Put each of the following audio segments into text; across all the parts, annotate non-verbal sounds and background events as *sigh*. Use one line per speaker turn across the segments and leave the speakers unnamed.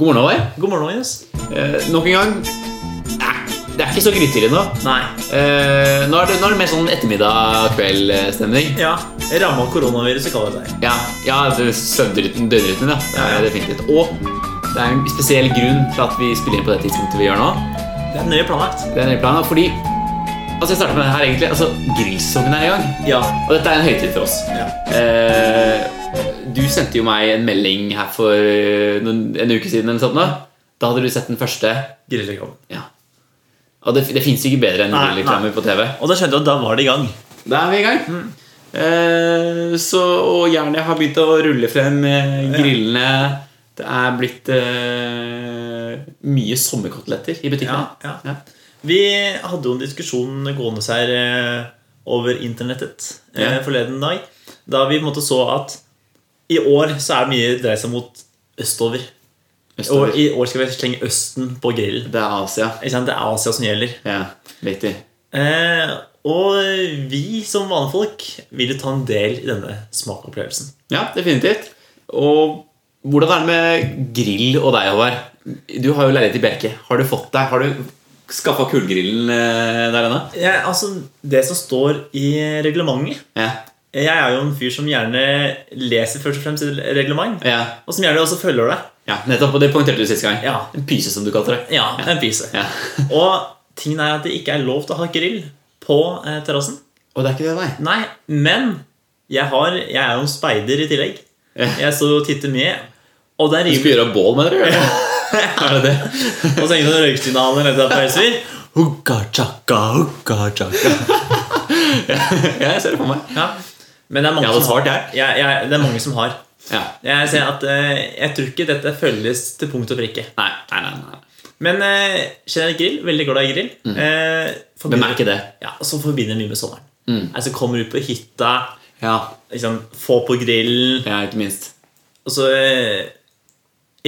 God morgen, Håvard.
God morgen, Magnus.
Eh, nok en gang Nei, Det er ikke så grytidlig nå.
Nei.
Eh, nå, er det, nå er det mer sånn ettermiddag-kveld-stemning.
Ja, ramma koronaviruset, kaller det seg.
Ja, ja det er søvnrytmen, døgnrytmen, ja. Det er definitivt. Og det er en spesiell grunn til at vi spiller inn på det tidspunktet vi gjør nå.
Det er nøye planlagt.
Det er planen, fordi Altså, jeg starter med det her, egentlig. Altså, Grillsesongen er i gang.
Ja.
Og dette er en høytid for oss.
ja.
Eh, du sendte jo meg en melding her for eh, noen, en uke siden. eller sånt nå. Da hadde du sett den første.
Grillreklamen.
Ja. Og det, det fins ikke bedre enn
Nei, Mm.
grillreklame på TV.
Og da skjønte jeg at da var det i gang.
Da er vi i gang. Eh, så, og jernet har begynt å rulle frem eh, grillene. Det er blitt eh, mye sommerkoteletter i butikkene.
Ja, ja. Vi hadde jo en diskusjon gående her eh, over internettet eh,
Ja.
forleden dag. Da vi på en måte så at i år så er mye dreid seg mot østover.
Østover.
Og i år skal vi slenge Østen på grillen.
Det er Asia.
Ikke sant? Det er Asia som gjelder.
Ja, riktig.
Eh, og vi som vanefolk vil jo ta en del i denne smakopplevelsen.
Ja, definitivt. Og hvordan er det med grill og deg, Håvard? Du har jo leilighet i Bjerke. Har du fått deg Har du skaffa kullgrillen eh, der ennå?
Jeg, altså, det som står i reglementet
Ja.
Jeg er jo en fyr som gjerne leser først og fremst reglement,
ja.
og som gjerne også følger det.
Ja, Nettopp. Og det poengterte du sist gang.
Ja.
En pyse, som du kalte det.
Ja, en pyse.
Ja.
*laughs* Og tingen er at det ikke er lov til å ha grill på eh, terrassen.
Og det er ikke det, nei.
Nei, men jeg, har, jeg er jo en speider i tillegg.
Ja.
Jeg står og titter mye. Og det
Du
er
*laughs*
rimelig
skulle gjøre bål, mener du? eller? *laughs* er det det?
Og så henger det en røyksignaler nedi der på Elsvir.
Ja, jeg ser det for meg.
Ja. Men det er,
Jeg
mange
hadde
som har,
svart, jeg.
jeg, jeg, det er mange som har.
Ja.
Jeg ser at eh, jeg tror ikke dette følges til punkt og prikke.
Nei, nei, nei. nei.
Men eh, generelt grill. Veldig glad i grill. Eh,
Mm. Hvem er ikke det? Mm.
Ja, og så forbinder mye med sommeren. Altså Kommer ut på hytta,
Ja,
liksom, få på grillen
ja ikke minst.
Og så eh,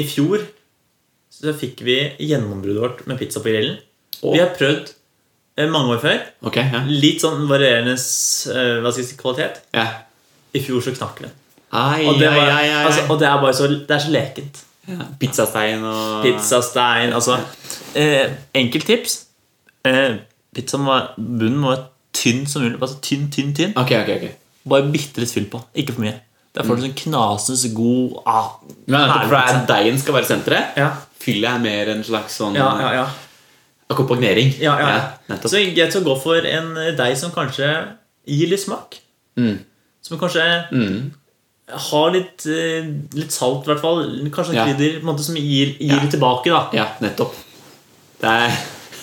I fjor så fikk vi gjennombruddet vårt med pizza på grillen.
Å.
Vi har prøvd eh, mange år før.
Ok, ja.
Litt sånn varierende eh, hva skal jeg si, kvalitet.
ja.
I fjor så knakk det.
Ai,
Og det,
ai,
var,
ai, ai.
Altså, og det er bare så, det er så lekent.
ja. Pizzastein og
Pizzastein Altså eh, Enkelt tips. Eh, pizzaen må, bunnen må være tynn som mulig. Altså tynn, tynn, tynn.
Ok, ok, ok.
Bare bitte litt fyll på. Ikke for mye. Da får du sånn knases god ah,
Men Mm. nettopp for
herlig
at deigen skal være senteret,
Ja.
fyller jeg mer en slags sånn
Ja, ja, ja.
akkompagnering.
ja, ja.
nettopp.
så greit å gå for en eh, deig som kanskje gir litt smak.
Mm.
Som kanskje har litt, eh, litt salt, i hvert fall. Kanskje
Ja.
noen krydder på en måte, som gir, gir
Ja.
det tilbake. da
Ja, nettopp. Det er, *laughs*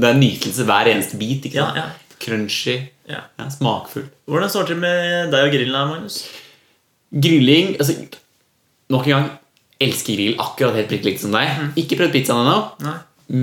det er nytelse hver eneste bit. ikke sant?
Ja, ja.
Crunchy,
ja.
ja, smakfull.
Hvordan står det til med deg og grillen her, Magnus?
Grilling altså, Nok en gang, elsker grill akkurat helt prikk likt som deg. Ikke prøvd pizzaen ennå,
Nei.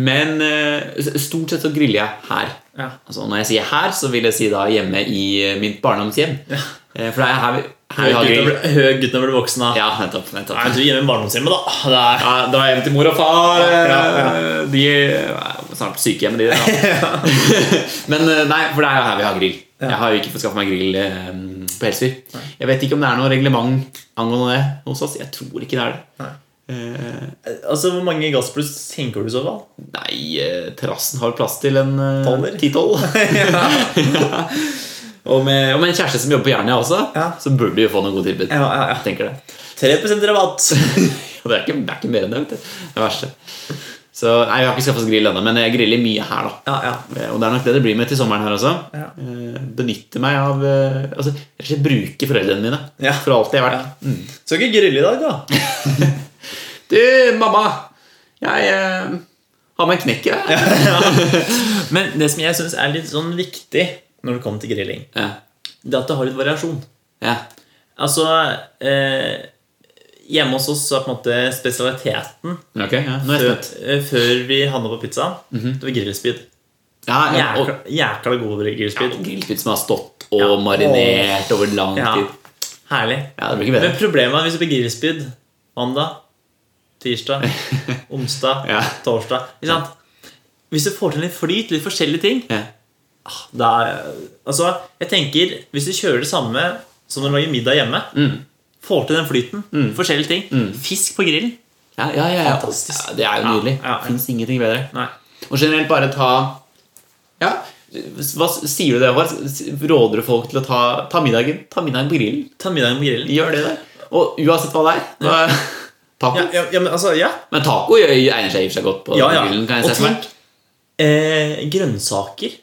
men eh, stort sett så griller jeg her.
Ja.
Altså, når jeg sier her, så vil jeg si da hjemme i eh, mitt barndomshjem. Eh, For det er her vi, her vi har grill.
Høg gutten blir voksen da.
Ja, nettopp. nettopp.
Nei, du er hjemme i barndomshjemmet, da. Det er...
Ja, dra hjem til mor og far. eh,
Ja,
De er snart på sykehjem, de. Da.
*laughs*
*laughs* Men eh, nei, for det er jo her vi har grill. Jeg har jo ikke fått skaffe meg grill eh, på Helsfyr. Jeg vet ikke om det er noe reglement angående det hos oss. Jeg tror ikke det er det. Eh,
Altså, Hvor mange gassbluss tenker du i så fall?
Nei, eh, terrassen har plass til en eh,
Tolver? *laughs*
ti-tolv. *laughs* Og med, og med en kjæreste som jobber på Jernia også,
Ja.
så burde vi jo få noe godt tilbud.
Ja, ja, ja.
Jeg tenker det.
3 rabatt!
*laughs* Og det er ikke, det er ikke mer enn det. vet du. Det verste. Så nei, Vi har ikke skaffet oss grill ennå, men jeg griller mye her. da
ja, ja.
Eh, Og det er nok det det blir med til sommeren her også.
Ja.
Eh, Benytte meg av eh, Altså, rett og slett bruke foreldrene mine
Ja.
for alt de har vært. Mm.
Skal ikke grille i dag, da.
Du, mamma! Jeg eh, har meg en knekk i deg.
*laughs* Men det som jeg syns er litt sånn viktig når det kommer til grilling,
Ja.
det er at det har litt variasjon.
Ja.
Altså eh, Hjemme hos oss så er på en måte spesialiteten
Ok, ja. Nå er jeg
før,
spent.
eh, før vi handla på pizzaen, det var grillspyd.
Ja, ja, og,
Jækla, jækla gode
ja,
grillspyd.
Grillpizza som har stått og
Ja.
marinert over lang
Ja.
tid.
Herlig.
Ja, Det blir ikke bedre.
Men problemet er hvis det blir grillspyd mandag,
*laughs*
tirsdag, onsdag,
Ja.
torsdag ikke sant? Hvis du får til litt flyt, litt forskjellige ting
Ja.
da, er- altså, jeg tenker, Hvis du kjører det samme
Mm.
som når du lager middag hjemme, får til den flyten, forskjellige ting Fisk på grill
Ja, ja, ja, ja.
Fantastisk.
Ja, det er jo nydelig.
Ja, ja, ja.
Fins ingenting bedre.
Nei.
Og generelt bare ta Ja, hva sier du det, Håvard? Råder du folk til å ta, ta middagen Ta middagen på grillen?
Ta middagen på grillen.
Gjør det der. Og uansett hva det er da- *laughs* Taco.
Ja, ja, ja, men altså, ja.
Men taco gjør- egner seg i og for seg godt på
ja, ja.
grillen. kan jeg
Og
se for meg
tenk eh, grønnsaker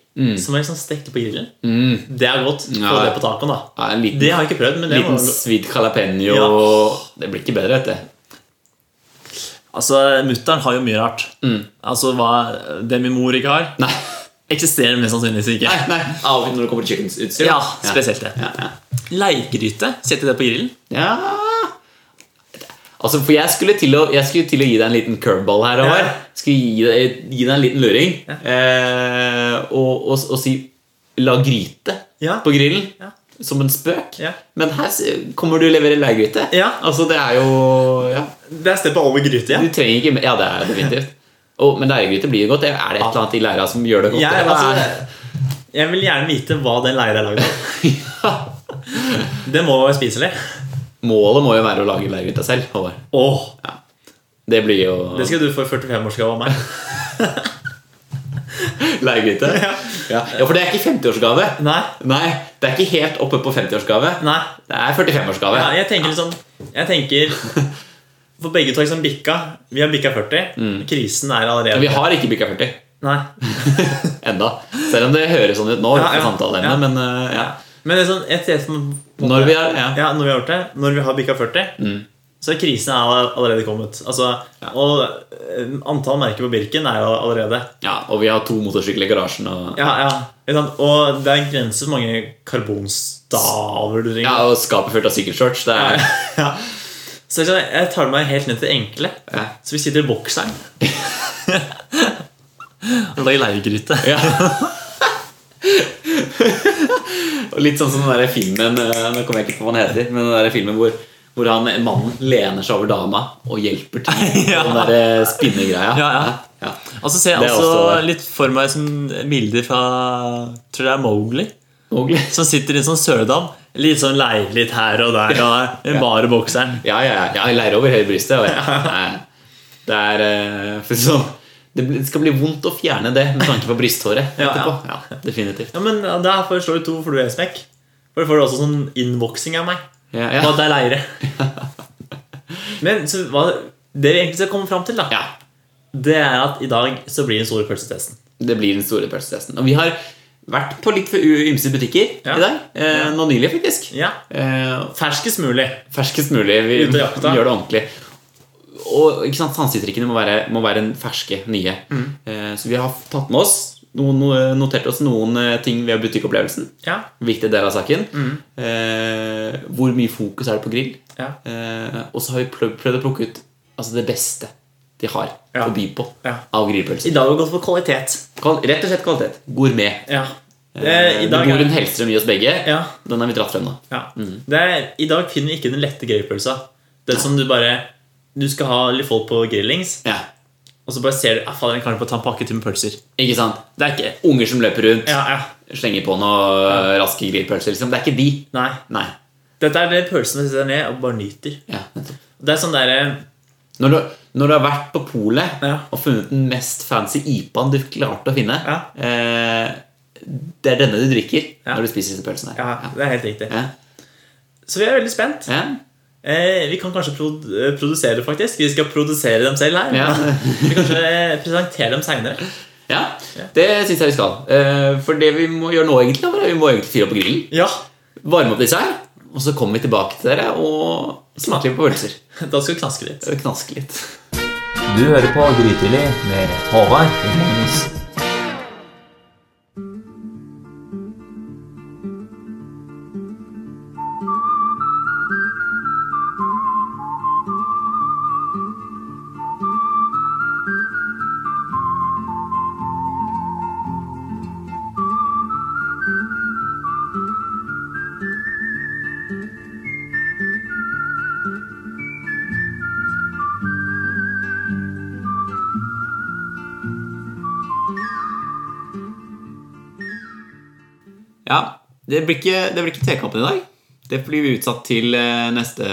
som er liksom stekt på grillen.
mm.
Det er godt. Få
Ja.
det på tacoen, da.
ja, En liten,
Det har jeg ikke prøvd, men det
liten
må
svidd jalapeño Det blir ikke bedre, vet du.
Altså, Mutter'n har jo mye rart. Altså, hva Det min mor ikke har,
Nei, *laughs*
eksisterer mest sannsynligvis ikke.
nei, nei. Av når det kommer til kjøkkenutstyr.
Ja,
Ja.
spesielt det.
Ja, ja.
Leirgryte. Setter det på grillen.
Ja Altså, for jeg skulle til å, jeg skulle til å gi deg en liten curveball her. Håvard.
Ja.
Skulle gi deg, gi deg en liten luring. Eh, og, og, og si 'la gryte'
Ja.
på grillen.
Ja.
Som en spøk.
Ja.
Men her s- kommer du og leverer leirgryte.
Ja.
Altså, det er jo ja.
Det er steppa over gryte,
Du trenger ikke mer- Ja, det er definitivt. Og, men leirgryte blir jo godt. Er det et eller annet i leira som gjør det godt?
Jeg,
eller?
altså, jeg vil gjerne vite hva den leira er lagd av. Det må være spiselig.
Målet må jo være å lage leirgryta selv. Håvard.
Åh,
Det blir jo
det skal du få i 45-årsgave av meg.
leirgryte.
*laughs* Ja.
Ja. ja, for det er ikke 50-årsgave.
Nei.
Nei, det er ikke helt oppe på 50-årsgave.
Nei.
Det er 45-årsgave.
Ja, jeg tenker liksom Jeg tenker *laughs* For begge to har liksom bikka. Vi har bikka 40. Krisen er allerede
Vi har ikke bikka 40
Nei.
*laughs* enda. Selv om det høres sånn ut nå.
Ja,
fra
ja.
samtaleemnet,
Ja.
Men eh, ja.
Men liksom, jeg ser for meg
Når vi er ja.
Ja, når vi har gjort det, når vi har bikka 40, så krisen er all- allerede kommet. Altså, Og eh, antall merker på Birken er jo allerede.
ja, Og vi har to motorsykler i garasjen. Og,
Ja, ja. Ikke sant? Og det er en grense for hvor mange karbonstaver du
ja,
ringer.
og skapet fullt av sykkelshorts. Det er
*laughs* Ja. Så ikke sant, jeg tar det meg helt ned til det enkle.
ja.
Så vi sitter i *laughs* bokseren. Og lager leirgryte.
Ja. og litt sånn som den der filmen eh, Nå kommer jeg ikke på hva den heter. Men den der filmen hvor, hvor han, mannen lener seg over dama og hjelper
*laughs*
til.
Ja.
Den der eh, spinnegreia.
Ja, ja.
Ja.
Og så ser jeg
Det er
også
også det.
litt for meg som bilder fra Tror det er Mowgli.
Og-
Som sitter i en sånn søledam. Litt sånn leir litt her og der. Og der bare bokseren.
Ja, ja, ja. ja jeg leier over hele brystet. Og jeg, nei, det er eh, for så, det blir- det skal bli vondt å fjerne det med tanke på brysthåret
Ja, ja.
etterpå. Ja, definitivt.
Ja, men Der får du slå ut to, for du er smekk. For du får også sånn innboksing av meg.
Ja,
Og at
ja.
det er *laughs* leire. Men så, hva, det vi egentlig skal komme fram til, da,
ja.
det er at i dag så blir den store pølsetesten.
Det blir den store pølsetesten. Og vi har vært på litt for u- ymse butikker
Ja.
i dag. Eh,
Ja.
Nå nylig, faktisk.
Ja.
Eh,
Ferskest mulig.
ferskest mulig. Vi
Ute og jakta.
gjør det ordentlig. Og ikke sant, sansetrikkene må være, må være en ferske, nye.
Mm.
Eh, så vi har tatt med oss noen, no- notert oss noen eh, ting ved butikkopplevelsen.
Ja.
Viktig del av saken.
Mm.
Eh, hvor mye fokus er det på grill?
Ja.
Eh, og så har vi prøvd, prøvd å plukke ut altså det beste de har
Ja.
å by på
Ja.
av
I
grillpølser.
dag har vi gått for kvalitet.
Kval- Rett og slett kvalitet. Gourmet.
Ja.
Eh,
Eh, I Mm.
det
dag
bor
er
en Hellstrøm i oss begge.
ja,
Den har vi dratt frem nå.
ja. Det er, I dag finner vi ikke den lette grillpølsa. Den som du bare Du skal ha litt folk på grillings,
Ja.
og så bare ser du ah, fader, en kar på å ta en pakke til med pølser.
Ikke sant?
Det er ikke
Unger som løper rundt,
Ja, ja.
slenger på noe raske grillpølser. Liksom. Det er ikke de.
Nei.
Nei.
Dette er det pølsene sitter ned og bare nyter.
Ja, nettopp.
Det er sånn derre
Når du, når du har vært på polet
Ja.
og funnet den mest fancy IPA-en du klarte å finne
Ja.
eh, Det er denne du drikker
Ja.
når du spiser disse pølsene.
Ja,
her.
det er helt riktig.
Ja.
Så vi er veldig spent.
Ja.
Eh, vi kan kanskje pro eh, produsere, faktisk. Vi skal produsere dem selv her.
Ja.
*laughs* Vi kan kanskje eh, presentere dem seinere.
Ja. Det syns jeg vi skal. Eh, for det vi må gjøre nå, egentlig, er at vi må egentlig fyre opp grillen,
Ja.
varme opp disse her, og så kommer vi tilbake til dere og smaker litt på
*laughs*
pølser.
Da skal vi knaske litt.
Knaske litt.
Du hører på Grytidlig med Håvard
Ja, det blir ikke, det blir ikke tekampen i dag. Det blir vi utsatt til eh, neste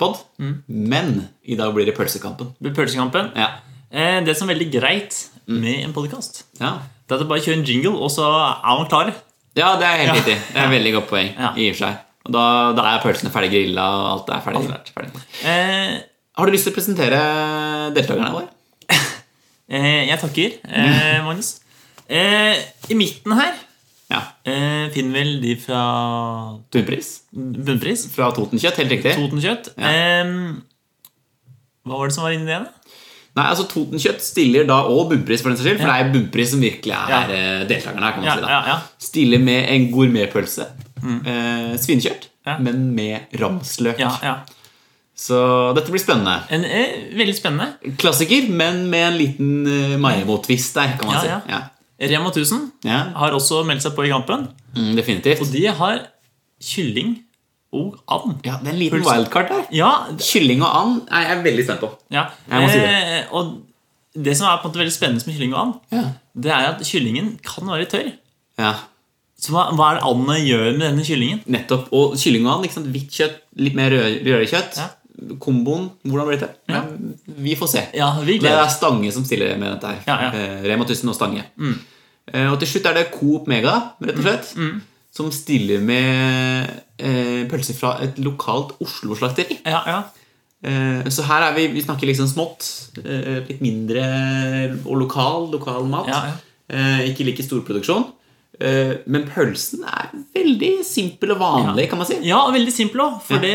pod.
Mm.
Men i dag blir det pølsekampen.
Det blir Pølsekampen.
Ja. Mm.
Eh, Det som er veldig greit med en podkast,
ja.
det er at du bare kjører en jingle, og så er man klar.
Ja, det er helt riktig. Det er et veldig godt poeng.
Ja.
i og for seg. Og da, da er pølsene ferdig grilla, og alt er ferdig. ferdig.
Eh,
Har du lyst til å presentere deltakerne våre?
eh, Jeg takker, eh,
Mm.
Magnus. Eh, I midten her
Ja.
eh, finner vel de fra
Tunpris
Bunnpris.
fra Totenkjøtt, helt riktig.
Totenkjøtt.
Ja.
Eh, hva var det som var inni det? da?
Nei, altså Totenkjøtt stiller da og Bunnpris, for den saks skyld. For det er Bunnpris som virkelig er
Ja.
eh, deltakerne her. kan man
Ja,
si da
ja, ja.
Stiller med en gourmetpølse. Eh, Svinekjørt,
Ja.
men med ramsløk.
ja, ja.
Så dette blir spennende.
En, eh, veldig spennende.
Klassiker, men med en liten eh, Maiemo-twist der, kan man
Ja,
si.
ja.
Ja.
Rema 1000
Ja.
har også meldt seg på i kampen.
Mm, definitivt.
Og de har kylling og and.
Ja, det er en liten
Pølse.
wildcard der.
Ja,
Kylling og and er jeg veldig spent på.
ja.
Jeg må si det.
Eh, og det som er på en måte veldig spennende med kylling og and,
Ja.
det er at kyllingen kan være tørr.
ja,
Så hva, hva er det andet gjør med denne kyllingen?
Nettopp. Og kylling og and. ikke sant? Hvitt kjøtt, litt mer rød, rødere kjøtt.
Ja.
Komboen, hvordan blir det? Ja. Vi får se.
Ja, vi
Det
gleder
er
oss.
Stange som stiller med dette her.
Ja, Mm. ja.
Eh, Rema 1000 og Stange. Eh, og til slutt er det Coop Mega, rett og slett,
Mm.
som stiller med eh, pølser fra et lokalt Oslo-slakteri.
Ja, ja.
Eh, så her er vi, vi snakker liksom smått. Eh, litt mindre og lokal, lokal mat.
Ja, ja.
Eh, ikke like storproduksjon. Eh, men pølsen er veldig simpel og vanlig, kan man si.
ja, og veldig simpel òg, for det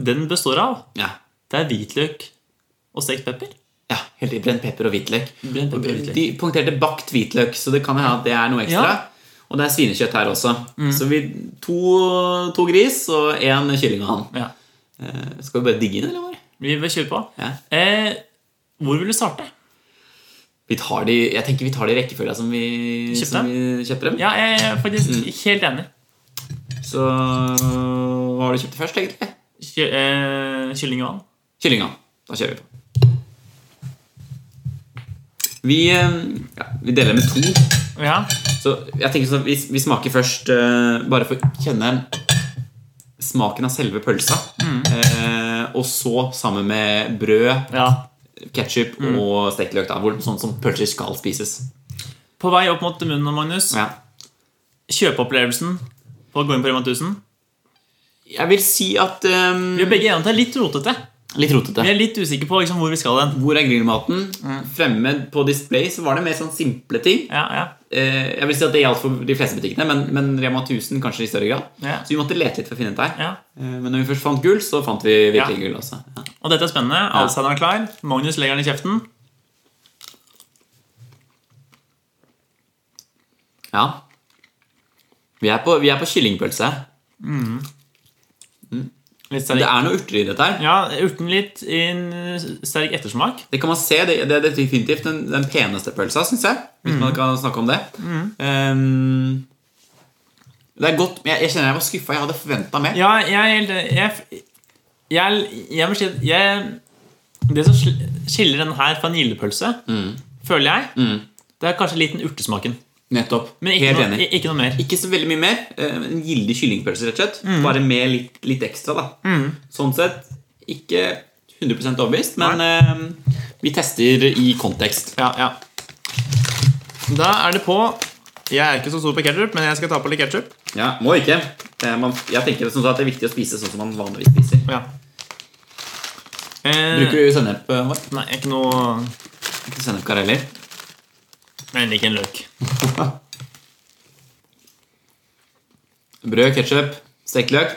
den består av,
Ja.
det er hvitløk og stekt pepper.
Ja, helt riktig. Brent pepper og hvitløk.
Brent pepper og hvitløk.
De punkterte bakt hvitløk, så det kan jo hende at det er noe ekstra. Og det er svinekjøtt her også. Så vi, to, to gris og én kylling og hann.
Ja.
Eh, Skal vi bare digge inn, eller? hva?
Vi vil kjøre på.
Ja.
Eh, hvor vil du starte?
Vi tar de, jeg tenker vi tar de i rekkefølga som vi
Kjøpte?
som vi kjøpte dem.
Ja, jeg er faktisk
Mm.
helt enig.
Så hva har du kjøpt først, egentlig?
Ky eh, kylling og and.
Kylling og hann. Da kjører vi på. Vi, eh, ja, vi deler med to.
Ja.
Så jeg tenker sånn, vi, vi smaker først eh, Bare for å kjenne smaken av selve pølsa.
Mm.
Eh, og så sammen med brød,
ja.
ketsjup
Mm.
og stekt løk. da, hvor- Sånn som pølser skal spises.
På vei opp mot munnen nå, Magnus.
Ja.
Kjøpeopplevelsen på å gå inn på Rema 1000.
Jeg vil si at eh,
Vi er begge enige om at det er litt rotete.
Litt rotete.
Vi er Mm. litt usikre på liksom, hvor vi skal hen.
Hvor er grillmaten? Fremme på display så var det mer sånn simple ting.
Ja, ja.
Eh, jeg vil si at Det gjaldt for de fleste butikkene, men, men Rema 1000 kanskje i større grad.
Ja.
Så vi måtte lete litt for å finne dette her.
Ja.
Eh, men når vi først fant gull, så fant vi virkelig gull også. Ja.
Og dette er spennende. Alzheimer er klar. Magnus legger den i kjeften.
Ja. Vi er på, vi er på kyllingpølse.
Litt
Det
sterk.
er noe urter i dette her.
Ja, Urten litt i en sterk ettersmak.
Det kan man se, det, det er definitivt den, den peneste pølsa, syns jeg. Hvis
Mm.
man kan snakke om det. Ehm, det er godt, men jeg, jeg kjenner jeg var skuffa. Jeg hadde forventa mer.
Ja, jeg er helt jeg, jeg, jeg må si at jeg, Det som sl- skiller den her fra en gildepølse,
Mm.
føler jeg, det er kanskje litt den urtesmaken.
Nettopp.
Men ikke,
Helt
noe,
enig.
i- ikke noe mer.
Ikke så veldig mye mer. eh, En gildig kyllingpølse, rett og slett. Bare med litt, litt ekstra, da. Sånn sett ikke 100 overbevist, men ehm, vi tester i kontekst.
Ja, ja. Da er det på Jeg er ikke så stor på ketsjup, men jeg skal ta på litt ketsjup.
Ja, Må ikke. Eh, man- Jeg tenker som sagt at det er viktig å spise sånn som man vanligvis spiser.
Ja. Eh,
Bruker du sennep? Håvard?
Nei, ikke noe
Ikke sennepkar heller.
Jeg liker en løk.
Brød, ketsjup, stekt løk.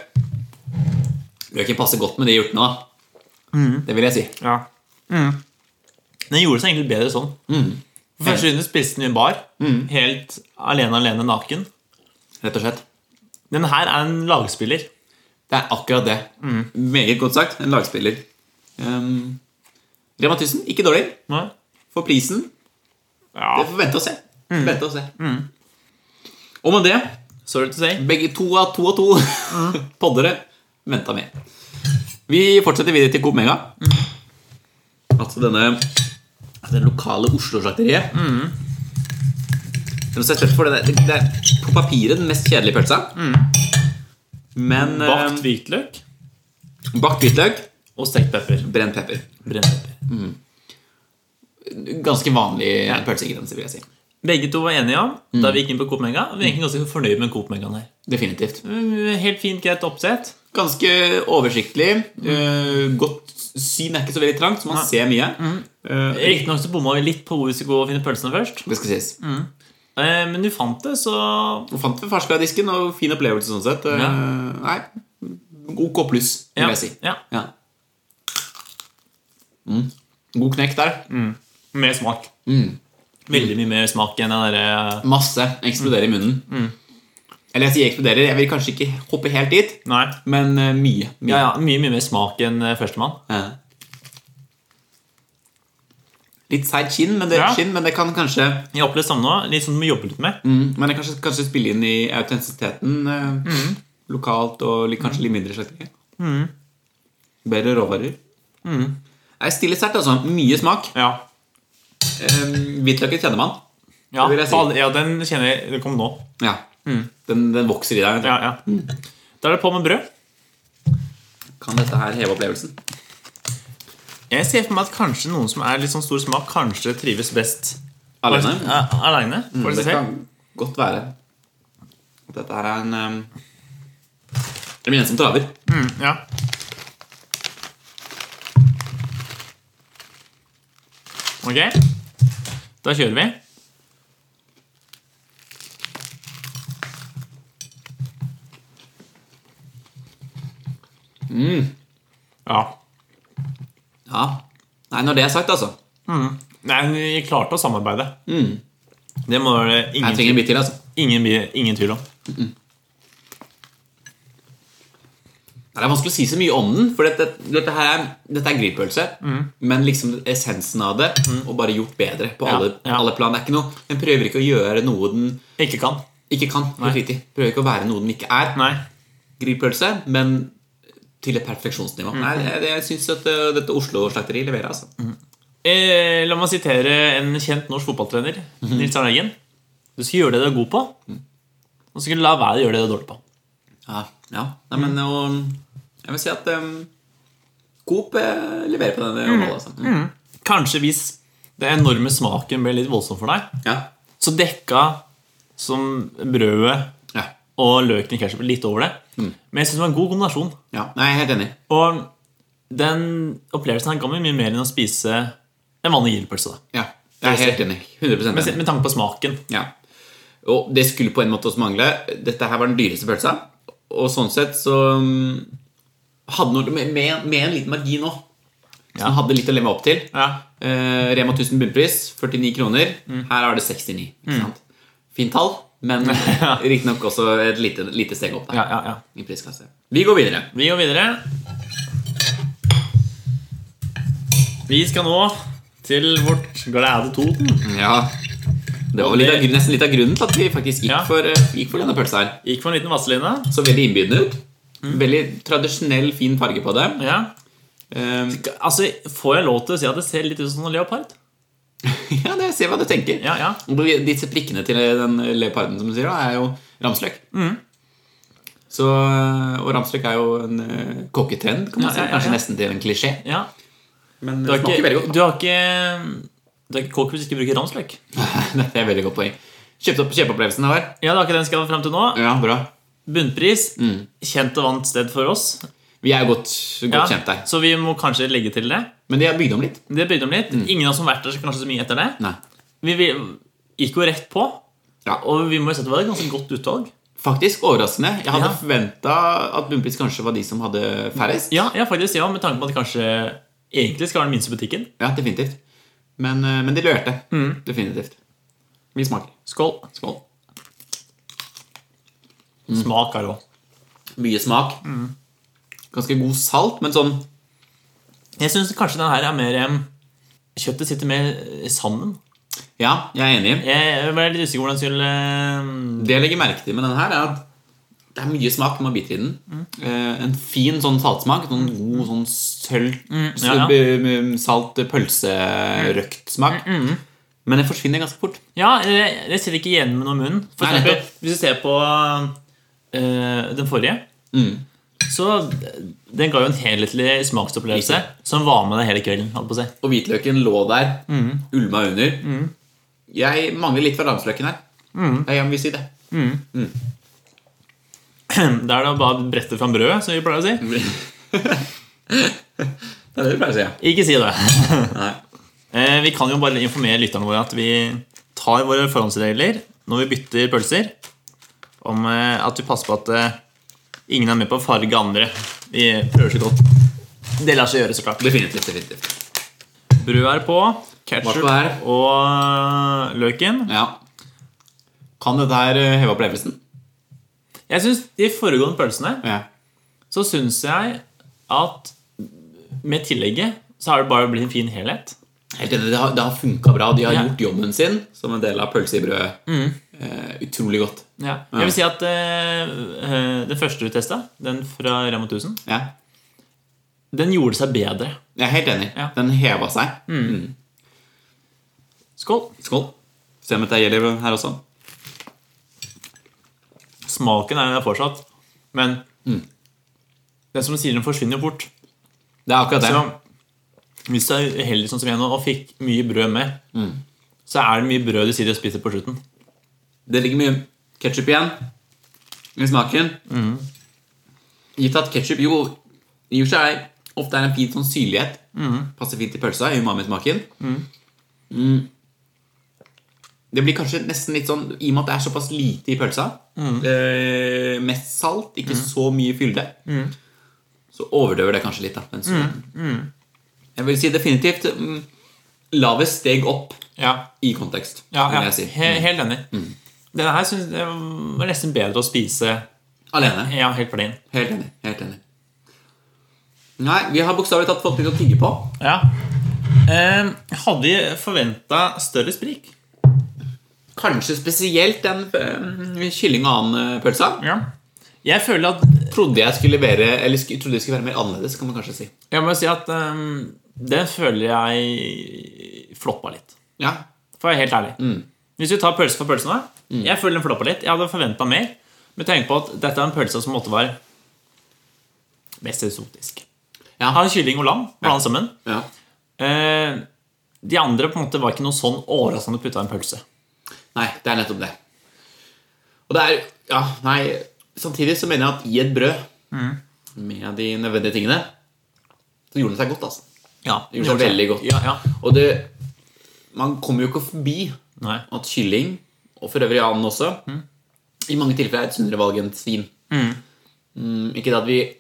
Løken passer godt med de urtene. da Det vil jeg si.
Ja. Den gjorde seg egentlig bedre sånn.
Mm.
For første runde spiste den i en bar, helt alene, alene, naken.
Rett og slett.
Den her er en lagspiller.
Det er akkurat det. Meget godt sagt. En lagspiller. Um, Rema 1000, ikke dårlig.
Nei?
For prisen
Ja. Mm.
Vi får vente og se. Vente og se. Og med det,
Sorry to say.
begge to av to av to
Mm.
*laughs* poddere venta med. Vi fortsetter videre til Coop Mega.
Mm.
Altså denne altså det lokale Oslo-slakteriet.
Mm.
Det må ses rett for det, det, det er på papiret den mest kjedelige pølsa. Men eh,
Mm. Bakt hvitløk
bakt hvitløk,
og stekt pepper.
brent pepper.
Brent pepper.
Ganske vanlig pølsegrense, vil jeg si.
Begge to var enige om da vi gikk inn på Coop Mega. Vi er egentlig ganske fornøyd med Coop Megaen her.
Definitivt.
Mm, Helt fint, greit oppsett.
Ganske oversiktlig. eh, godt syn er ikke så veldig trangt, så man ser mye.
Mm.
Eh,
Riktignok så bomma vi litt på hvor vi skulle gå og finne pølsene først.
det skal sies.
Eh, Men du fant det, så
Og fant vi ferskvaredisken og fin opplevelse sånn sett. Eh,
Ja.
Nei, OK pluss, vil
ja.
jeg si.
ja.
Ja. Mm. God knekk der.
Mer smak. Mm. Veldig mye mer smak enn den derre
Masse.
Mm.
Eksploderer i munnen. Eller jeg sier eksploderer, jeg vil kanskje ikke hoppe helt dit,
Nei.
men eh, mye. mye.
Ja, ja, mye, mye mer smak enn eh, førstemann.
Ja. Litt seigt skinn, men det
Ja.
skinn, men det kan kanskje
Jeg har opplevd det samme nå. Litt sånn du må jobbe litt med.
mm, Men det kanskje, kanskje spille inn i autentisiteten eh, lokalt og litt, kanskje litt mindre slakterier. Bedre råvarer. Nei, Stille sterkt, altså. Mye smak.
Ja.
Eh, Hvitløken kjenner man.
Ja,
Det vil jeg si.
på alle- ja, den kjenner jeg. Den kom nå.
Ja. Den, den vokser i deg.
Ja, ja. Da er det på med brød.
Kan dette her heve opplevelsen?
Jeg ser for meg at kanskje noen som er litt sånn stor smak, kanskje trives best
Alene?
Ja, Alene, for
det
seg selv.
kan godt være. At Dette her er en um, Det blir en som traver.
Mm, ja. Ok. Da kjører vi. Mm. Ja.
Ja. Nei, når det er sagt, altså.
Nei, men vi klarte å samarbeide. Det må det
Jeg
ingen,
trenger en bit til, altså.
ingen, bi- ingen tvil om.
Nei, Det er vanskelig å si så mye om den, for dette, dette, her er, dette er grillpølse.
Mm.
Men liksom essensen av det, og bare gjort bedre på
Ja,
alle,
ja.
alle plan. Det er ikke noe, Den prøver ikke å gjøre noe den
Ikke kan.
ikke kan. helt riktig. Prøver ikke å være noe den ikke er.
Nei.
Grillpølse, men til et perfeksjonsnivå.
Mm.
Nei, jeg, jeg syns at uh, dette Oslo-slakteriet leverer, altså.
Eh, la meg sitere en kjent norsk fotballtrener, Nils Arne Eggen. Du skal gjøre det du er god på, og så skal du la være å gjøre det du er dårlig på.
Ja, ja. Nei, men
Mm.
og, Jeg vil si at um, Coop eh, leverer på denne området. Altså. Mm.
Kanskje hvis den enorme smaken ble litt voldsom for deg,
Ja.
så dekka som brødet
Ja.
og løken i ketchup litt over det. Men jeg syns det var en god kombinasjon.
ja. Nei, jeg er helt enig.
Og den opplevelsen her ga meg mye mer enn å spise en vanlig grillpølse. da.
Ja. Jeg er helt enig. 100
Med,
enig.
med tanke på smaken.
Ja. Og det skulle på en måte også mangle. Dette her var den dyreste pølsa. Og sånn sett så um, hadde noe, med, med, med en liten margin òg. Som
Ja.
hadde litt å leve opp til.
Ja.
Eh, Rema 1000 bunnpris, 49 kroner.
Mm.
Her er det 69. Ikke sant? Fint tall,
*laughs*
men riktignok også et lite, lite steg opp der.
Ja, ja, ja.
i priskasse. Vi går videre.
Vi går videre. Vi skal nå til vårt glade Toten.
Ja. Det var litt av, grunn- nesten litt av grunnen til at vi faktisk gikk,
Ja.
for, eh, gikk for denne pølsa her.
Gikk for en liten vasseline.
Så veldig innbydende ut.
Mm.
Veldig tradisjonell, fin farge på det.
Ja.
Eh,
Altså, Får jeg lov til å si at det ser litt ut som en leopard?
*laughs* ja, det, jeg ser hva du tenker.
Ja, ja.
Og de- Disse prikkene til den leoparden som du sier, da, er jo ramsløk.
Mm.
Så, og ramsløk er jo en eh, kokketrend, kan man
Ja,
si.
ja, ja,
Kanskje
ja.
nesten til en klisjé.
ja.
Men
Du
det
har
smaker veldig
ikke,
godt.
du har ikke, du har ikke kokk hvis du ikke bruker ramsløk.
*laughs* Dette er et veldig godt poeng. Kjøpt opp kjøpeopplevelsen her.
Ja, det har ikke den skal frem til nå.
Ja, bra.
Bunnpris.
Mm.
Kjent og vant sted for oss.
Vi er jo godt, godt
Ja,
kjent der.
Så vi må kanskje legge til det.
Men de har bygd om litt.
Det bygde om litt.
Mm.
Ingen av oss som har vært der, så kanskje så mye etter det.
Nei.
Vi, vi gikk jo rett på,
Ja.
og vi må jo si at det var et ganske godt utvalg.
Faktisk overraskende. Jeg hadde
Ja.
forventet forventa at Bunnpris kanskje var de som hadde færrest.
Ja, ja, faktisk, ja, med tanke på at det kanskje egentlig skal være den minste butikken.
Ja, definitivt. Men, eh, men de lurte.
Mm.
Definitivt. Vi smaker.
Skål.
Skål.
Smak her òg.
Mye smak. Ganske god salt, men sånn
Jeg syns kanskje den her er mer em, Kjøttet sitter mer eh, sammen.
Ja, jeg er enig.
Jeg ble litt usikker på hvordan jeg skulle em,
Det jeg legger merke til med den her, er at det er mye smak når man biter i den. Eh, en fin sånn saltsmak. Sånn god sånn sølv
Mm, ja, ja.
sølv- eh, Salt
Mm,
pølserøktsmak. Men det forsvinner ganske fort.
Ja, jeg, jeg sitter ikke igjen med noe munn. For
Nei,
eksempel,
nettopp.
hvis du ser på eh, den forrige, Så den ga jo en helhetlig smaksopplevelse som var med deg hele kvelden. Holdt på å si. *clears throat*
Og hvitløken lå der,
Mm.
ulma under. Jeg mangler litt fra ramsløken her.
Mm.
Jeg vil si det. *laughs*
Da er det bare å brette fram brødet, som vi pleier å si.
Det er det du pleier å si, ja.
Ikke si det.
Nei.
Eh, Vi kan jo bare informere lytterne våre at vi tar våre forhåndsregler når vi bytter pølser, om eh, at vi passer på at eh, ingen er med på å farge andre. Vi prøver så godt. Det lar seg gjøre, så klart.
Definitivt. definitivt.
Brød er på. Ketchup
Varsko er.
og eh, løken.
Ja. Kan dette her eh, heve opplevelsen?
Jeg synes De foregående pølsene
Ja.
så syns jeg at med tillegget så har det bare blitt en fin helhet.
Helt enig, Det har, det har funka bra. De har
Ja.
gjort jobben sin som en del av pølse i brødet. Eh, utrolig godt.
Jeg vil si at eh, eh, den første du testa, den fra Rema 1000,
Ja.
den gjorde seg bedre.
Jeg er helt enig.
Ja.
Den heva seg.
Skål.
Skål. Se om dette gjelder her også.
Smaken er der fortsatt, men den som sier den forsvinner jo fort.
Det er akkurat det.
Så hvis du er uheldig sånn som jeg nå og fikk mye brød med, så er det mye brød du sitter og spiser på slutten.
Det ligger mye ketsjup igjen i smaken.
Mm.
Gitt at ketsjup jo i og for seg ofte er en fin sånn syrlighet.
Mm.
Passer fint til pølsa i umamismaken. Mm. Det blir kanskje nesten litt sånn I og med at det er såpass lite i pølsa,
Mm.
eh, mest salt, ikke så mye fylde,
Mm.
så overdøver det kanskje litt. da den syrligheten.
Mm.
Jeg vil si definitivt mm, lavest steg opp
Ja,
i kontekst,
Ja,
vil
ja.
jeg si.
He helt enig. Denne Mm. her synes jeg var nesten bedre å spise
Alene.
ja, helt plain.
Helt enig. helt enig Nei, vi har bokstavelig talt fått litt å tigge på.
Ja. Eh, hadde vi forventa større sprik?
Kanskje spesielt den eh, kylling- og annen-pølsa.
Ja. Jeg føler at
Trodde jeg skulle være Eller sk trodde det skulle være mer annerledes, kan man kanskje si.
Jeg må si at eh, den føler jeg floppa litt.
Ja,
For å være helt ærlig.
Mm.
Hvis vi tar pølse for pølse nå Jeg føler den floppa litt. Jeg hadde forventa mer. Men tenk på at dette er en pølse som måtte være mest eksotisk.
Ja.
Av kylling og lam blanda sammen.
ja.
Eh, de andre på en måte var ikke noe sånn overraskende putta i en pølse.
Nei, det er nettopp det. Og det er Ja, nei Samtidig så mener jeg at i et brød med de nødvendige tingene, så gjorde den seg godt, altså.
Ja,
Det gjorde seg veldig godt.
Ja, ja.
Og det Man kommer jo ikke forbi
Nei.
at kylling, og for øvrig annen også, i mange tilfeller er et sunnere valg enn svin. Mm, ikke det at vi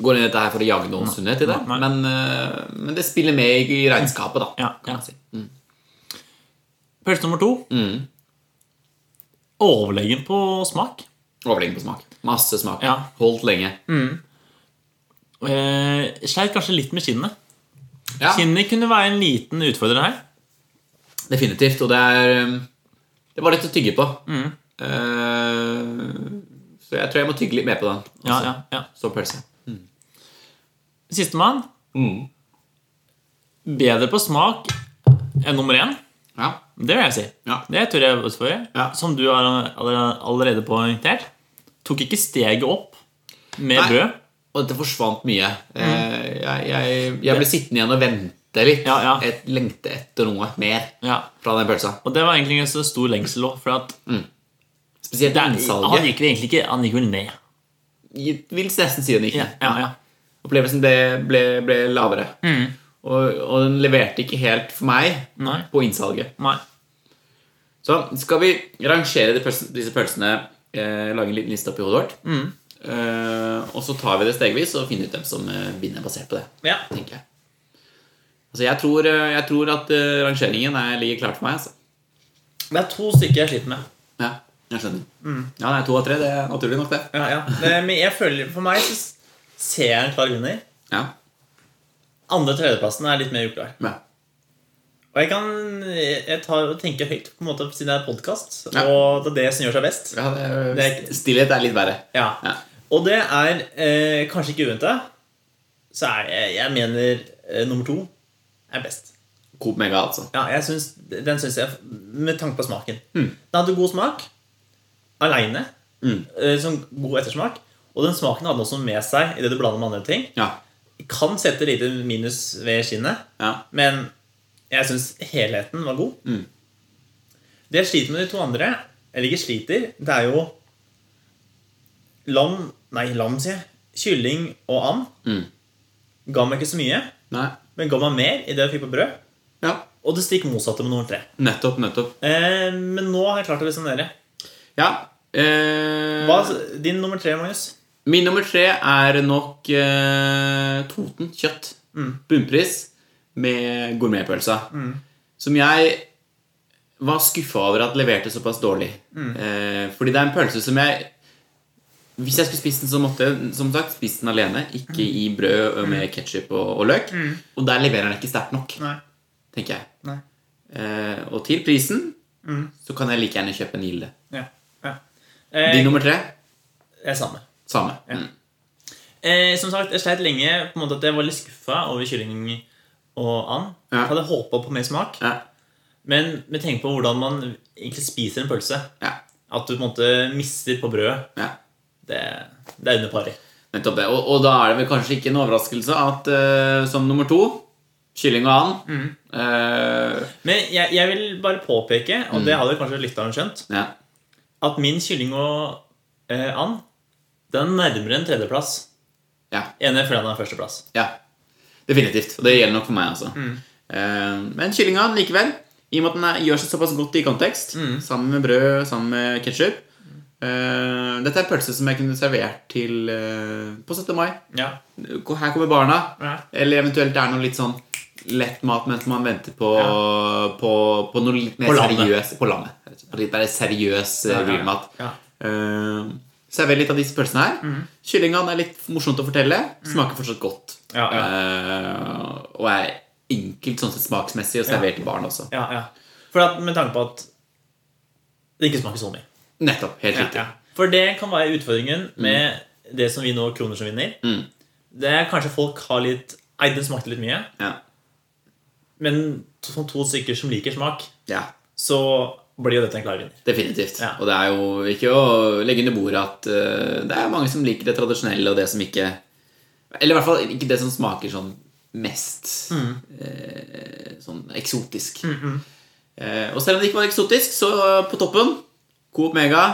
går inn i dette her for å jage noen sunnhet i det,
Nei.
men, eh, men det spiller med i regnskapet, da.
Ja,
kan
ja.
man si. Mm.
Pølse nummer to. Overlegen på smak.
Overlegen på smak. Masse smak.
Ja. Mm.
Holdt lenge.
Eh, Sleit kanskje litt med kinnet.
Ja,
Kinnet kunne være en liten utfordrer her.
definitivt. Og det er eh, Det var litt å tygge på.
Mm.
Eh, så jeg tror jeg må tygge litt mer på den.
Ja,
også.
ja, ja.
Som pølse.
Sistemann.
Mm.
Bedre på smak enn nummer én.
Ja.
Det vil jeg si.
Ja.
Det tør jeg også for.
Ja.
Som du har allerede allerede poengtert. Tok ikke steget opp med
Nei.
brød.
Og dette forsvant mye.
Mm.
Eh, Jeg, jeg, jeg ble sittende igjen og vente litt.
Ja, ja.
Et, lengte etter noe mer
Ja.
fra den pølsa.
Og det var egentlig en så stor lengsel òg, for at
Spesielt
der, han
innsalget.
gikk vel egentlig ikke Han gikk vel ned.
Jeg Vil nesten si den gikk
Ja,
ned.
ja, ja.
Opplevelsen ble, ble, ble lavere. Og, og den leverte ikke helt for meg
Nei.
på innsalget.
Nei.
Så skal vi rangere de pølse- disse pølsene, eh, lage en liten liste oppi hodet vårt.
Mm.
Eh, og så tar vi det stegvis og finner ut hvem som eh, vinner basert på det.
Ja.
tenker jeg. Altså, jeg tror, eh, jeg tror at eh, rangeringen er, ligger klart for meg, altså.
Det er to stykker jeg sliter med.
Ja, jeg skjønner.
Mm.
Ja, nei, to av tre, det er naturlig nok, det.
Ja, ja. Det- Men jeg føler, for meg så s- ser jeg en klar vinner.
Ja,
Andre- og tredjeplassen er litt mer uklar.
ja.
Og jeg kan jeg tar og tenker høyt, på en måte siden det er podkast.
Ja.
Og det er det som gjør seg best.
ja det er,
Det er ikke-
Stillhet er litt verre.
Ja.
Ja.
Og det er eh, kanskje ikke uventa, så er jeg, jeg mener eh, nummer to er best.
Coop Mega, altså.
Ja, jeg synes, Den syns jeg Med tanke på
Mm.
smaken. Den hadde eh, god smak aleine, som god ettersmak, Og den smaken hadde den også med seg idet du blander med andre ting.
Ja.
Kan sette lite minus ved skinnet,
ja.
men jeg syns helheten var god.
Mm.
Det jeg sliter med de to andre, eller ikke sliter, det er jo lam Nei, lam, sier jeg. Kylling og and.
Mm.
Ga meg ikke så mye,
Nei.
men ga meg mer i det jeg fikk på brød.
Ja.
Og det stikk motsatte med nummer tre.
Nettopp, nettopp.
Eh, men nå har jeg klart å resonnere.
Ja. Eh,
Hva, din nummer tre, Magnus?
Min nummer tre er nok eh, Toten kjøtt.
Mm.
Bunnpris med gourmetpølsa. Som jeg var skuffa over at leverte såpass dårlig.
Mm.
Eh, fordi det er en pølse som jeg Hvis jeg skulle spist den, så måtte jeg som sagt spist den alene. Ikke
Mm.
i brød og med ketsjup og, og løk. Og der leverer den ikke sterkt nok,
Nei.
tenker jeg.
Nei. Mm.
Eh, og til prisen så kan jeg like gjerne kjøpe en Gilde.
Ja. ja.
Din
Eh,
nummer tre?
det er samme.
Samme. Mm.
Eh, som sagt, jeg sleit lenge på en måte at jeg var litt skuffa over kylling og and.
Ja.
Jeg Hadde håpa på mer smak.
Ja.
Men med tenk på hvordan man egentlig spiser en pølse.
Ja.
At du på en måte mister på brødet.
ja.
Det, det er under pari.
Nettopp det. Og, og da er det vel kanskje ikke en overraskelse at eh, som nummer to Kylling og and. eh,
Men jeg, jeg vil bare påpeke, og det hadde kanskje lytteren skjønt,
ja.
at min kylling og eh, and den er nærmere en tredjeplass
ja.
enn jeg føler den er førsteplass.
Ja. Definitivt. Og det gjelder nok for meg, altså. Eh, men kylling og and likevel. I og med at den er, gjør seg såpass godt i kontekst, sammen med brød, sammen med ketsjup Dette er en pølse som jeg kunne servert til eh, på 17. mai.
Ja.
Her kommer barna.
Ja.
Eller eventuelt det er noe litt sånn lett mat mens man venter på, på, på noe litt mer
På landet.
seriøs På landet. På litt mer seriøs eh,
Ja, ja, ja.
grillmat.
Ja. Mhm.
Eh, Server litt av disse pølsene her. Kyllingene er litt morsomt å fortelle. Smaker fortsatt godt.
Ja, ja.
Eh, og er enkelt sånn sett smaksmessig og servert til barn også.
ja, ja. For at, med tanke på at det ikke smaker så mye.
Nettopp. Helt
Ja, Mm.
riktig.
ja. For det kan være utfordringen med det som vi nå kroner som vinner.
Mm.
Det er kanskje folk har litt Nei, den smakte litt mye.
Ja.
Men som to stykker som liker smak,
ja.
så blir jo dette en klar vinner.
Definitivt.
Ja.
Og det er jo ikke å legge under bordet at eh, det er mange som liker det tradisjonelle og det som ikke Eller i hvert fall ikke det som smaker sånn mest
Mm.
eh, sånn eksotisk. Eh, og selv om det ikke var eksotisk, så eh, på toppen Coop Mega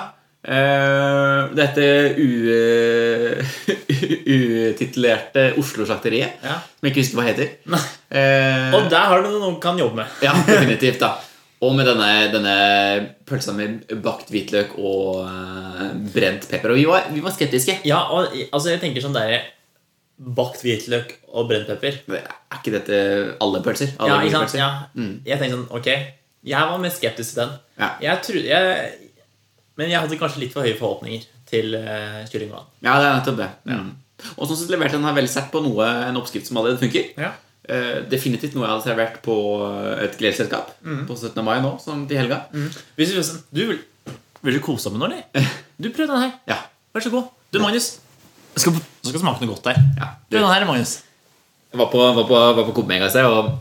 eh, dette u- *laughs* utitlerte Oslo-slakteriet,
Ja.
som jeg ikke husker hva heter.
Nei.
Eh,
Og der har du noe du kan jobbe med.
ja, definitivt da Og med denne, denne pølsa med bakt hvitløk og eh, brent pepper Og vi var, vi var skeptiske
Ja, og altså, jeg tenker sånn der Bakt hvitløk og brent pepper.
Er ikke dette alle pølser?
Ja,
Alle
ikke sant?
pølser?
Ja. Jeg tenker sånn Ok, jeg var mest skeptisk til den.
Mm. Ja.
Jeg trodde jeg, Men jeg hadde kanskje litt for høye forhåpninger til uh, kylling og and.
Ja, det er nettopp det Mm. Og sånn sett leverte den her veldig sterkt på noe En oppskrift som allerede funker
Ja.
Eh, Definitivt noe jeg hadde servert på et gledesselskap
Mm.
På 17. mai nå, som til helga
Hvis du, du vil, vil du kose deg med noe, eller?
*laughs*
Du prøv den her.
Ja,
Vær så god. Du, Magnus. Jeg skal, nå skal smake noe godt der.
ja
Prøv den her, Magnus.
Jeg var på, var på, var på Coop Mega i sted, og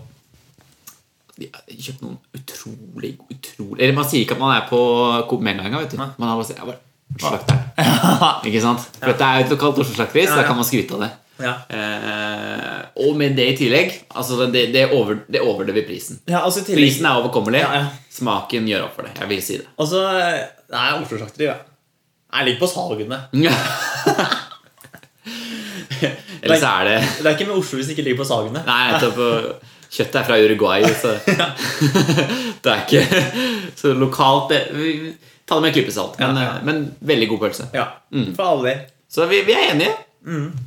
de har kjøpt noen utrolig utrolig Eller man sier ikke at man er på Coop Mega engang. vet du. Man har bare sagt, jeg var slakteren.
*laughs*
Ikke sant? For dette er jo et lokalt Oslo-slakteri, så
Ja, ja.
da kan man skryte av det.
Ja.
Eh, og med det i tillegg altså Det, det, over, det overdøver prisen.
ja, altså i tillegg
Prisen er overkommelig.
Ja, ja.
Smaken gjør opp for det. Jeg vil
*laughs*
si det. *laughs*
Altså, Nei, Oslo-slakteri, ja. Jeg ligger på salgene.
Eller så er det
Det er ikke med Oslo hvis det ikke ligger på salgene.
Nei, nettopp. og Kjøttet er fra Uruguay,
*laughs*
så det er ikke så lokalt. Det, vi, ta det med en klype salt, men, eh,
Ja, ja.
men veldig god pølse.
Ja,
Mm.
For alle del.
Så vi, vi er enige.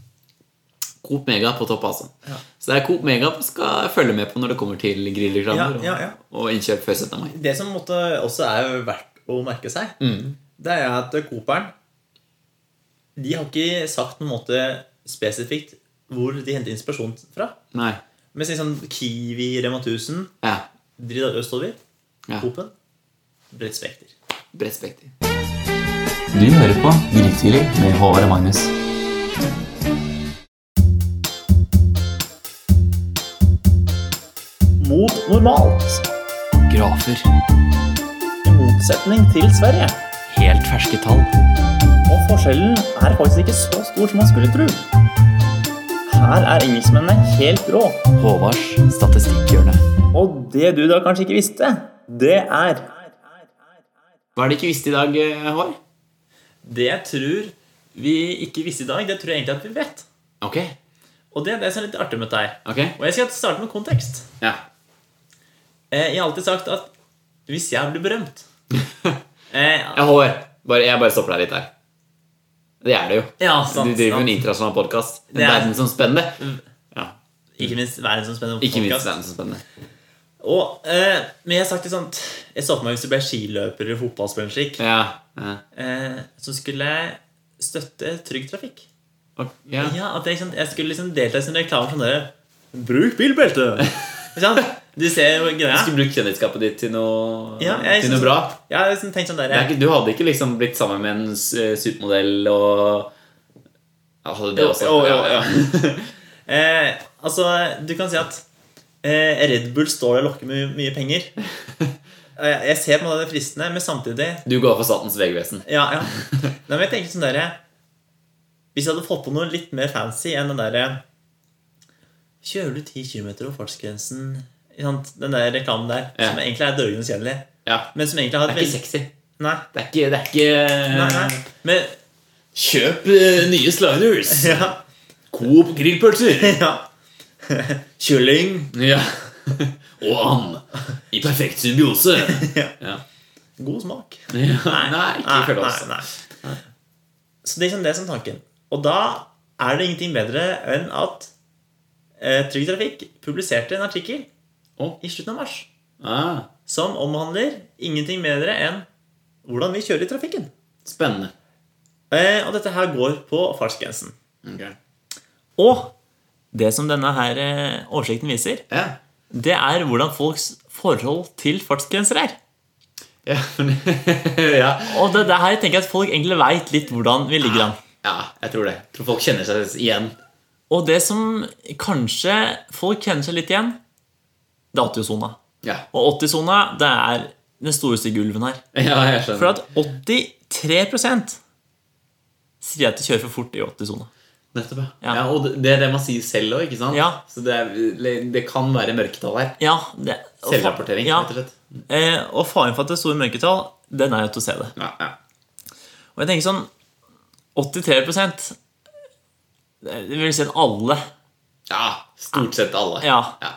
Coop Mega på topp, altså.
Mm. Ja.
Så det er Coop Mega man skal følge med på når det kommer til grillreklamer
Ja, ja, ja.
og, og innkjøp før 17. mai.
Det som måtte også er verdt å merke seg,
Mm.
det er at Cooperen De har ikke sagt på en måte spesifikt hvor de henter inspirasjon fra.
Nei.
Men si sånn Kiwi, Rema 1000,
Ja.
Drida østover,
ja.
Coopen, Bredt Spekter.
Bredt spekter. Du hører på Grilltidlig med Håvard og Magnus.
Mot normalt,
Grafer.
i motsetning til Sverige.
Helt ferske tall.
Å
Og forskjellen er faktisk ikke så stor som man skulle tro. Her er engelskmennene helt rå.
Håvards statistikkhjørne.
Og det du da kanskje ikke visste, det er
Hva er det ikke visste i dag, eh, Håvard?
Det jeg tror vi ikke visste i dag, det tror jeg egentlig at vi vet.
Ok.
Og det er det som er litt artig med deg.
ok
Og jeg skal starte med kontekst.
Ja.
Eh, Jeg har alltid sagt at hvis jeg blir
*laughs*
berømt eh,
Ja, Håvard, bare, jeg bare stopper deg litt der. Det er det jo.
Ja,
Du
sant,
driver jo en
sant.
internasjonal podkast. En
Det er-
verdensomspennende. Ja,
Ikke minst verdensomspennende
ikke minst
podcast.
verdensomspennende.
Og, eh, men jeg har sagt det sånn Jeg så for meg hvis du ble skiløper eller fotballspiller eller slik,
Ja, ja.
eh, så skulle jeg støtte Trygg Trafikk.
Ok, ja.
Ja, at jeg, sånn, jeg skulle liksom delta i sånne reklamer som dere. Bruk bilbelte! *laughs* Ikke sant? Du ser jo greia.
Du skulle brukt kjendisskapet ditt til noe,
Ja, jeg
til noe
synes-
bra.
Jeg har liksom tenkt sånn der
Det er ikke, du hadde ikke liksom blitt sammen med en s- eh, supermodell og ja, Hadde det også
Jo, jo, jo, eh, Altså, du kan si at eh, Red Bull står der og lokker med mye penger. Og Jeg jeg ser på en måte det er fristende, men samtidig
Du går for Statens vegvesen.
Ja, ja. Nei, men jeg tenker sånn der Hvis jeg hadde fått på noe litt mer fancy enn den der Kjører du 10 km over fartsgrensen ikke sant? Den der reklamen der,
Ja.
som egentlig er dørgende kjedelig,
Ja.
men som egentlig har
Det
et
er ikke
veldig
sexy.
Nei,
Det er ikke, det er ikke
nei, nei. Men,
Kjøp eh, nye sliders!
ja,
Coop grillpølser!
ja. *laughs* Kylling. *laughs*
Ja. Og and. I perfekt symbiose.
Ja.
*laughs* Ja.
God smak.
Nei, ikke
Nei,
følg
nei,
oss.
nei. Så det er sånn det som tanken. Og da er det ingenting bedre enn at eh, Trygg Trafikk publiserte en artikkel
Å.
i slutten av mars
Ah,
som omhandler ingenting bedre enn hvordan vi kjører i trafikken.
spennende.
Eh, og dette her går på fartsgrensen. Og det som denne her eh, oversikten viser,
Ja.
det er hvordan folks forhold til fartsgrenser er.
Ja, men, *laughs* ja.
Og det, det her tenker jeg at folk egentlig veit litt hvordan vi ligger an.
ja, jeg tror det. Jeg tror folk kjenner seg igjen.
Og det som kanskje folk kjenner seg litt igjen, det er 80-sona.
Ja,
Og 80-sona, det er den storeste gulven her.
ja jeg skjønner.
For at 83 sier at de kjører for fort i 80-sona.
Nettopp, ja.
Ja.
ja. Og det- det er det man sier selv òg, ikke sant?
Ja.
Så det, er, det kan være mørketall her.
Ja, det, og fa-
Selvrapportering,
ja,
rett og slett.
eh, og faren for at det er store mørketall, den er jo til å se det.
Ja, ja.
Og jeg tenker sånn 83 det vil si at alle
ja stort sett alle.
ja,
Ja,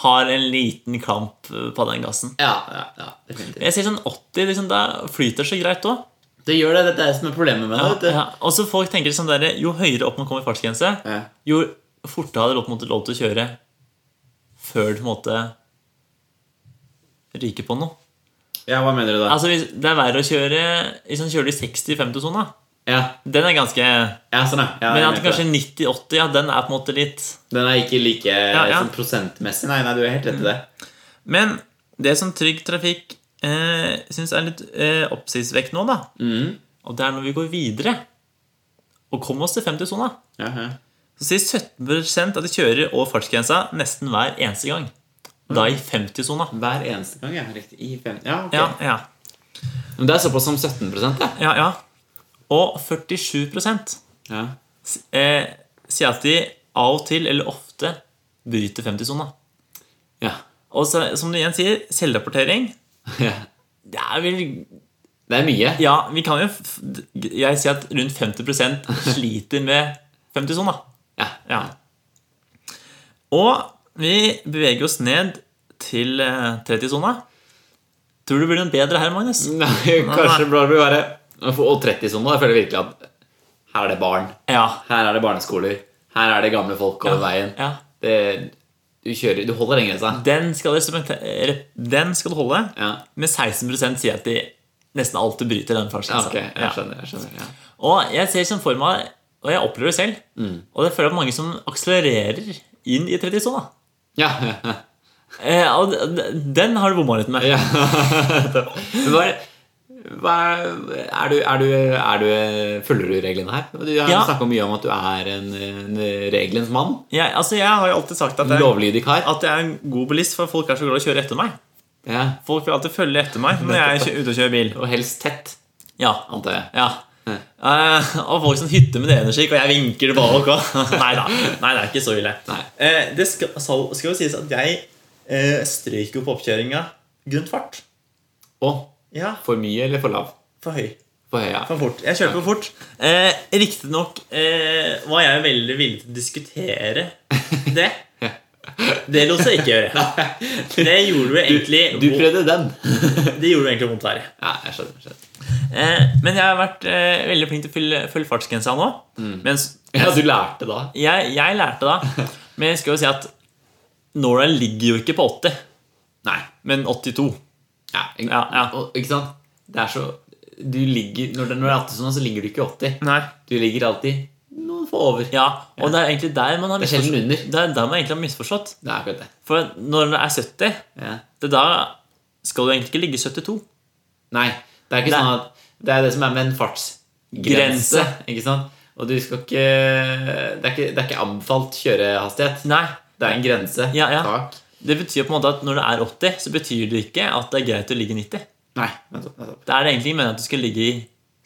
har en liten klamp på den gassen.
ja, ja, ja definitivt.
Jeg sier sånn 80, liksom, da flyter det så greit òg.
Det gjør det. Det er det som er problemet med det. vet du.
Ja, og så folk tenker sånn der, Jo høyere opp man kommer i fartsgrense,
Ja.
jo fortere hadde du på en måte lov til å kjøre før du på en måte ryker på noe.
Ja, hva mener du da?
Altså, hvis, Det er verre å kjøre Hvis man kjører i 60-50-sona.
Ja,
Den er ganske
ja sånn, ja. ja. jeg
Altså- Men
er
at
med på
kanskje
det.
90-80, ja, den er på en måte litt
Den er ikke like
ja.
Sånn prosentmessig. Nei, nei, du er helt rett i det.
Men det som Trygg Trafikk eh, syns er litt eh, oppsiktsvekkende nå, da,
Mm.
og det er når vi går videre og kommer oss til 50-sona,
Ja, ja.
så sier 17 at de kjører over fartsgrensa nesten hver eneste gang. Da i 50-sona.
Hver eneste gang, ja. Riktig. I fem... Mm. Ja, ok.
Ja, ja,
Men det er såpass som 17 det.
ja, ja. Og 47
Ja.
s- eh, sier at de av og til eller ofte bryter 50-sona.
Ja. *laughs*
Og så, som du igjen sier, selvrapportering
ja.
det er vel,
Det er mye.
Ja, vi kan jo f- Jeg sier at rundt 50 sliter med 50-sona.
Ja.
Ja. Og vi beveger oss ned til eh, 30-sona. Tror du det blir noe bedre her, Magnus?
*laughs* Nei, kanskje det bør være Og 30 sånn, da. Jeg føler virkelig at her er det barn.
Ja.
Her er det barneskoler. Her er det gamle folk over veien.
ja.
Det, du kjører Du holder den grensa.
Den skal, du sementere- den skal du holde.
Ja.
Med 16 sier at de nesten alltid bryter den
Ja,
fartsgrensa.
ok, jeg skjønner. jeg skjønner ja.
Og jeg ser sånn for meg, og jeg opplever det selv,
Mm.
og jeg føler at mange som akselererer inn i 30-sona.
Ja, ja, *laughs*
Eh, og d- d- den har du bomma litt med.
ja. Men hva er, hva er, er, du, er, du, er du Følger du reglene her? Du har
Ja.
snakka mye om at du er en, en reglens mann.
Jeg, altså, jeg har jo alltid sagt at jeg,
Lovlydig kar.
at jeg er en god bilist, for folk er så glad i å kjøre etter meg.
Ja.
Folk vil alltid følge etter meg når jeg er kjø- ute og kjører bil.
Og helst tett,
Ja,
antar jeg.
ja. Eh, og folk som hytter med D-energikk, og jeg vinker tilbake. Og, *laughs* nei da. Nei, det er ikke så ille.
Nei.
Eh, det skal, skal skal jo sies at jeg eh, strøyk jo på oppkjøringa grunn fart.
Og
Ja,
for mye eller for lav?
for høy.
For høy, ja.
For fort. Jeg kjørte for fort. Eh, Riktignok eh, var jeg veldig villig til å diskutere det.
*laughs*
Det lot seg ikke gjøre. Det gjorde jo egentlig
Du prøvde den.
Det gjorde jo egentlig vondt verre.
Ja, jeg skjønner. jeg skjønner.
Eh, men jeg har vært eh, veldig flink til å fylle, følge fartsgrensa nå.
Mm.
Mens
Ja, Du lærte da.
jeg, jeg lærte
*laughs*
da Men jeg skal jo si at Nora ligger jo ikke på 80,
Nei.
men 82.
Ja,
Ja, ja.
Og, ikke sant? Det er så Du ligger Når det når det er 80 sånn, så ligger du ikke 80.
Nei.
Du ligger alltid noen få over.
Ja, og det er egentlig der man har
Det er sjelden
misforstått.
under.
Det er der man egentlig har misforstått.
Det er akkurat det.
For når det er 70,
Ja.
det da skal du egentlig ikke ligge 72.
Nei. Det er ikke
Nei.
sånn at Det er det som er med en fartsgrense.
Grense.
Ikke sant? Og du skal ikke Det er ikke, det er ikke anbefalt kjørehastighet.
Nei.
Det er en grense.
Ja, ja.
Tak.
Det betyr på en måte at når det er 80, så betyr det ikke at det er greit å ligge 90.
Nei. Nettopp. nettopp.
Da er det egentlig meningen at du skal ligge i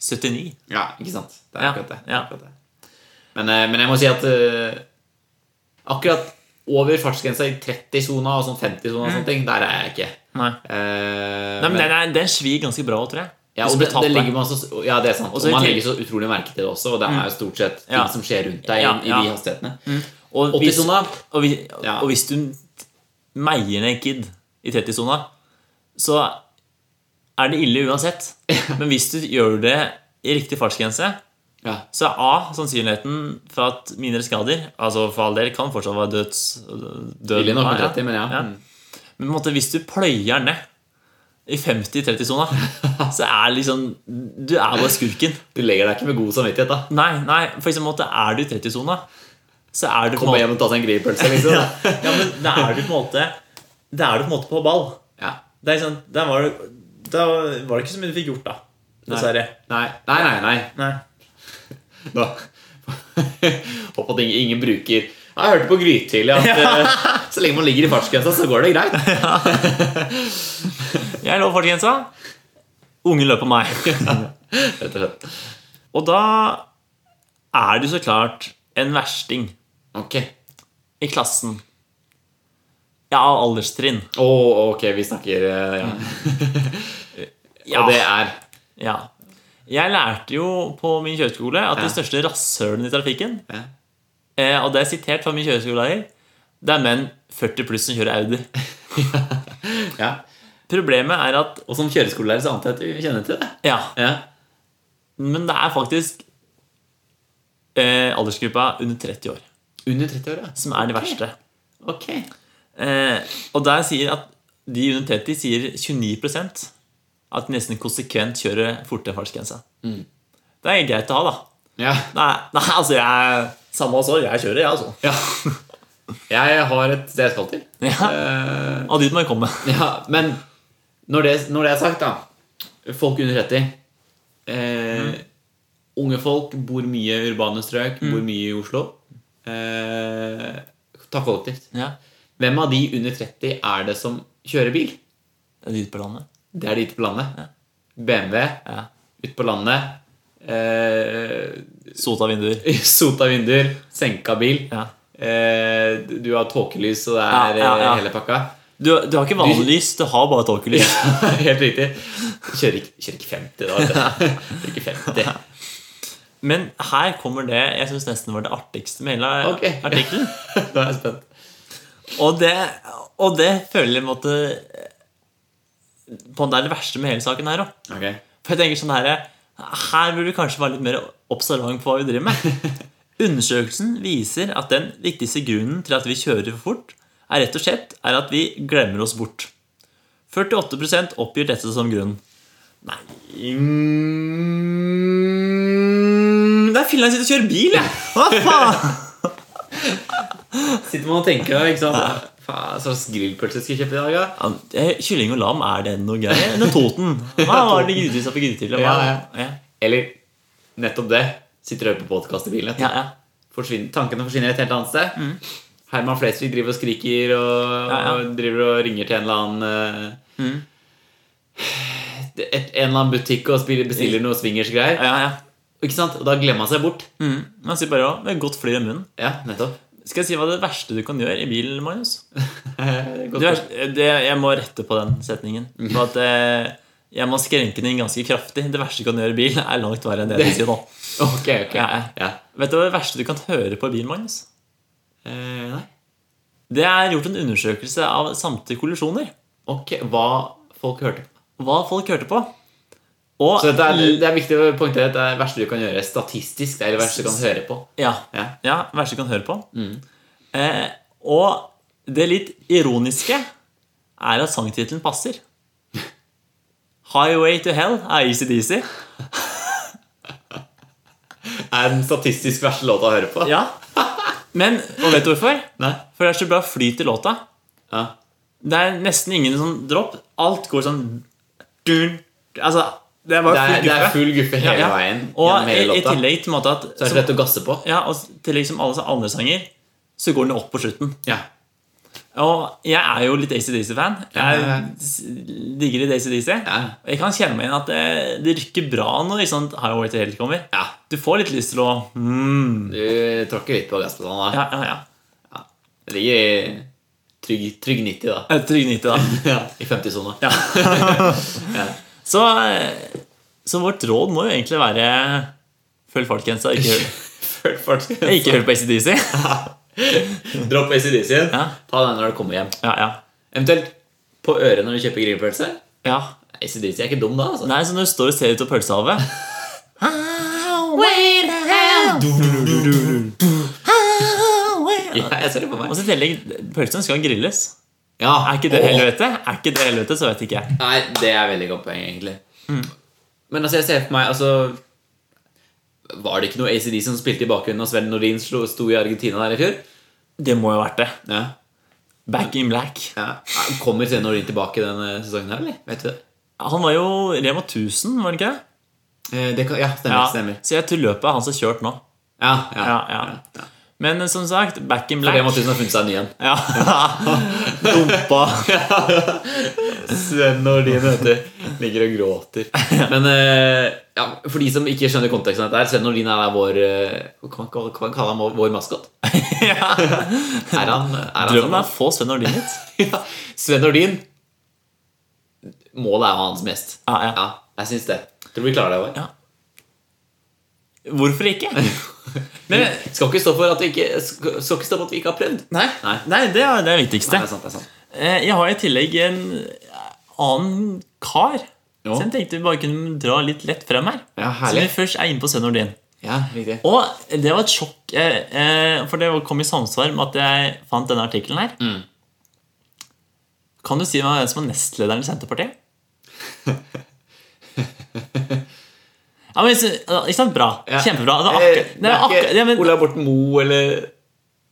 79.
Ja, ikke sant. Det er
Ja,
akkurat det. Det er
ja.
akkurat det. Men, eh, men jeg må si at eh, akkurat over fartsgrensa i 30-sona og sånn 50-sona og sånne ting, der er jeg ikke.
Nei.
Eh,
Mm. Nei, men den, er, den svir ganske bra, tror jeg.
ja,
Hvis
og
du
det, det
betaler.
legger man så, ja, det er sant.
Og
Og,
så i
man
tillegg-
legger så utrolig merke til det også, og det er jo stort sett ting
Ja.
som skjer rundt deg i,
Ja, ja.
i de hastighetene.
Og hvis,
80-sona?
og, hvis,
Ja.
og hvis du meier ned en kid i 30-sona, så er det ille
*laughs*
uansett. Men hvis du gjør det i riktig fartsgrense,
Ja.
så er A sannsynligheten for at mindre skader Altså for all del kan fortsatt være døds... Død,
Ille nok med 30, men ja.
Ja. Men på en måte, hvis du pløyer ned
*laughs*
i 50-30-sona, så er liksom Du er bare skurken.
Du legger deg ikke med god samvittighet, da.
Nei, nei, for eksempel måte, er du i 30-sona, så er du på en
Komme
måte
hjem og ta seg en grillpølse, liksom.
ja, ja, men da er du på en måte Da er du på en måte på ball.
*laughs* ja.
Det er sånn, da, var det, da var det ikke så mye du fikk gjort, da. Dessverre.
Nei, nei, nei. nei.
Nei.
Da. *laughs* Håper at ingen, ingen bruker Jeg hørte på Grytidlig *laughs* at eh, så lenge man ligger i fartsgrensa, så går det greit.
Jeg lå fartsgrensa. Ungen løp på meg. *laughs*
Rett og slett.
Og da er du så klart en versting
Ok.
i klassen. Ja, av alderstrinn.
Å, ok, vi snakker eh, ja.
Ja,
Mm. *laughs* Og det er
ja. Jeg lærte jo på min kjøreskole at
Ja.
de største rasshølene i trafikken,
ja.
eh, og det er sitert fra min kjøreskolelærer, det er menn 40 pluss som kjører Audi.
ja.
Problemet er at
Og som kjøreskolelærer så antar jeg at du kjenner til det.
Ja,
Ja.
men det er faktisk eh, aldersgruppa under 30 år
Under 30 år, ja.
som er de verste.
Ok.
Eh, og der sier at de under 30 sier 29 at de nesten konsekvent kjører fortere enn fartsgrensa. Det er greit å ha, da.
Ja. *laughs*
Nei, nei altså jeg Samme også, jeg kjører, jeg, altså.
ja. Jeg har et sted jeg skal til.
Ja,
Eh,
og dit må jeg komme.
ja, men når det, når det er sagt, da Folk under 30 eh,
Mm.
Unge folk bor mye i urbane strøk, bor mye i Oslo. Eh, ta kollektivt.
Ja,
Hvem av de under 30 er det som kjører bil?
det er dit på landet.
Det er de ute på landet. BMW
Ja.
ute på landet. Eh, *laughs*
Sota vinduer.
sota vinduer, senka bil.
Ja.
Eh, du har tåkelys, og det
Ja,
er
ja, ja.
eh, hele pakka.
Du, du har ikke vanlig lys, du har bare tåkelys.
*laughs* Helt riktig. Kjører ikke, kjører ikke 50, da. vet du. Kjører ikke 50.
Men her kommer det jeg syns nesten var det artigste med hele
Ok.
artikkelen.
*laughs* Nå er jeg spent.
Og det, og det føler jeg på en måte På en måte er det verste med hele saken her òg.
Ok.
For jeg tenker sånn her Her burde vi kanskje være litt mer observant på hva vi driver med. Undersøkelsen viser at den viktigste grunnen til at vi kjører for fort, er rett og slett er at vi glemmer oss bort. 48 oppgir dette som grunn. Nei mm, Det er filler'n sitter og kjører bil, jeg! Hva faen?
Sitter man og tenker da, ikke sant? Faen, så slags grillpølse skal jeg kjøpe i dag, da?
Ja, eh, Kylling og lam, er det noe greier? Eller
*laughs*
Toten? Hva var det grytidsa på grytidla?
Ja,
ja.
Eller nettopp det. Sitter og hører på podkast i bilen. vet du.
ja, ja.
Forsvinner, tankene forsvinner et helt annet sted. Herman Flesvig driver og skriker og,
Ja, Mm. ja.
og driver og ringer til en eller annen eh, et, En eller annen butikk og spiller, bestiller noe swingers-greier.
ja, ja.
Og Ikke sant? Og da glemmer man seg bort.
Mm. Man sier bare at det er godt flyr i munnen.
Ja, nettopp. *laughs*
Skal jeg si hva det verste du kan gjøre i bilen, Magnus?
Godt Mhm.
Du, er- eh, det, jeg må rette på den setningen. På at eh, jeg må skrenke den inn ganske kraftig. Det verste du kan gjøre i bil, er langt verre enn det du sier nå.
Ok, ok.
Ja, ja.
*laughs* Ja.
Vet du hva det verste du kan høre på i bil, Magnus?
Eh, nei.
Det er gjort en undersøkelse av samtlige kollisjoner.
Ok, hva folk hørte på.
Hva folk hørte på. Og
Så dette er, det er viktig å poengtere at det er det verste du kan gjøre statistisk. Det er det verste du kan høre på.
Ja.
Ja.
ja verste du kan høre på.
Mm.
Eh, og det litt ironiske er at sangtittelen passer. 'Highway to Hell' er ACDC.
Er den statistisk verste låta å høre på?
Ja. Men og vet du hvorfor?
Nei?
For det er så bra flyt i låta.
Ja.
Det er nesten ingen sånn dropp. Alt går sånn dun, Altså, det er
Det
bare
er,
full
det er
guffe.
full guffe hele
Ja.
veien.
Og
gjennom
i,
hele
i
låta.
tillegg til en måte at
så er det så lett å gasse på.
Ja, og i tillegg som alle andre sanger, så går den opp på slutten.
Ja.
Og jeg er jo litt ACDC-fan. Jeg
Ja, ja, ja.
s- digger litt ACDC.
Ja.
Og jeg kan kjenne meg igjen at det, det rykker bra når liksom, Highway to Hell kommer.
ja.
Du får litt lyst til å mm,
Du tråkker litt på gasspedalen. da.
Ja, ja, ja.
Det ligger i trygg, trygg 90,
*laughs*
da.
Et Trygg 90,
*laughs*
da.
I 50-sona. *laughs*
Ja. Så, eh, så vårt råd må jo egentlig være følg fartgrensa, ikke hør,
Følg fartsgrensa.
ikke hør på ACDC.
*laughs* Dropp ACDC-en.
Ja.
Ta den når du kommer hjem.
Ja, ja.
Eventuelt på øret når du kjøper grillpølse.
ja.
ACDC er ikke dum, da. altså
Nei, så når du står og ser ut av pølsehavet
Ja, jeg ser det på meg.
Og så i tillegg, pølsen skal grilles.
Ja,
Er ikke det
Åh.
helvete? Er ikke det helvete, så vet ikke jeg.
Nei, det er veldig godt poeng, egentlig. Men altså, jeg ser for meg altså Var det ikke noe ACD som spilte i bakgrunnen da Sven Nordin slo- sto i Argentina der i fjor?
Det må jo ha vært det.
Ja.
Back in black.
ja. Kommer Sven Nordin tilbake denne sesongen her, eller? Vet du det?
Han var jo Rema 1000, var han ikke det?
Eh, det kan, ja, stemmer.
Ja,
stemmer.
Så jeg tror løpet er han som har kjørt nå.
Ja, ja.
Ja, ja. Men eh, som sagt, back in
Rema
black.
1000 har funnet seg en ny en. *laughs*
Ja. *laughs* Dumpa.
Sven Nordin vet du, ligger og gråter. *laughs* Men eh, ja, for de som ikke skjønner konteksten av dette, her, Sven Nordin er da vår eh, Kan man kan man kalle ham vår *laughs* maskot?
ja.
Er han, er han sånn?
Drømmen er å få Sven Nordin hit.
Ja, Sven Nordin Målet er hans mest
Ja, ja.
Ja, jeg synes det Tror du vi klarer det, Håvard?
Ja. Hvorfor ikke? Men,
Skal ikke stå for at vi ikke Skal skal ikke stå for at vi ikke har prøvd Nei,
nei, nei, det er det er
det
viktigste.
er sant, det er sant
Eh, Jeg har i tillegg en annen kar. Så jeg tenkte vi bare kunne dra litt lett frem her.
Ja,
Siden
herlig
vi først er inne på Sven Nordin.
Ja, riktig
Og det var et sjokk, eh, eh, for det kom i samsvar med at jeg fant denne artikkelen her.
Mm.
Kan du si meg hvem som er nestlederen
*laughs*
i Senterpartiet? Ja, men, så- ikke sant? Bra.
Ja.
Kjempebra. Det er
Eh,
akkurat, det er akkurat, ja, men,
Ola Borten Moe eller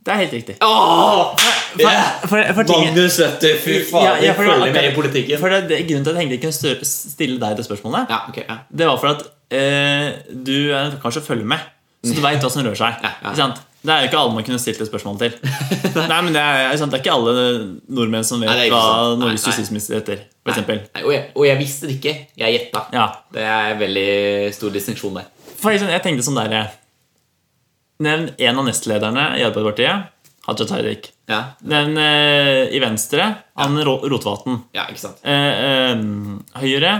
det er helt riktig.
Åh
For, for, for ting,
Magnus, vet du Fy faen,
Ja, ja, for
vi
det var
følger med
akkurat-
i politikken
for det, det, grunnen til at jeg egentlig kunne stø- stille deg det spørsmålet,
Ja, ok, ja
Det var for at eh, du eh, kanskje følger med, så du veit hva som rører seg.
Ja, ja.
Ikke sant? Det er jo ikke alle man kunne stilt et spørsmål
*laughs*
til. Nei, men Det er, ikke sant? det er ikke alle nordmenn som vet
Nei, det er ikke
hva
sant. Nei,
Norges
nei.
justisminister heter. For eksempel.
Nei, og, jeg, og jeg visste det ikke Jeg gjetta
ja.
Det er veldig stor distinksjon der
for eksempel, Jeg tenkte sånn der eh, Nevn en av nestlederne i Arbeiderpartiet. Haja Tajik.
Ja,
Nevn eh, i Venstre Anne Rå- Rotevatn.
ja ikke sant
Eh, eh, høyre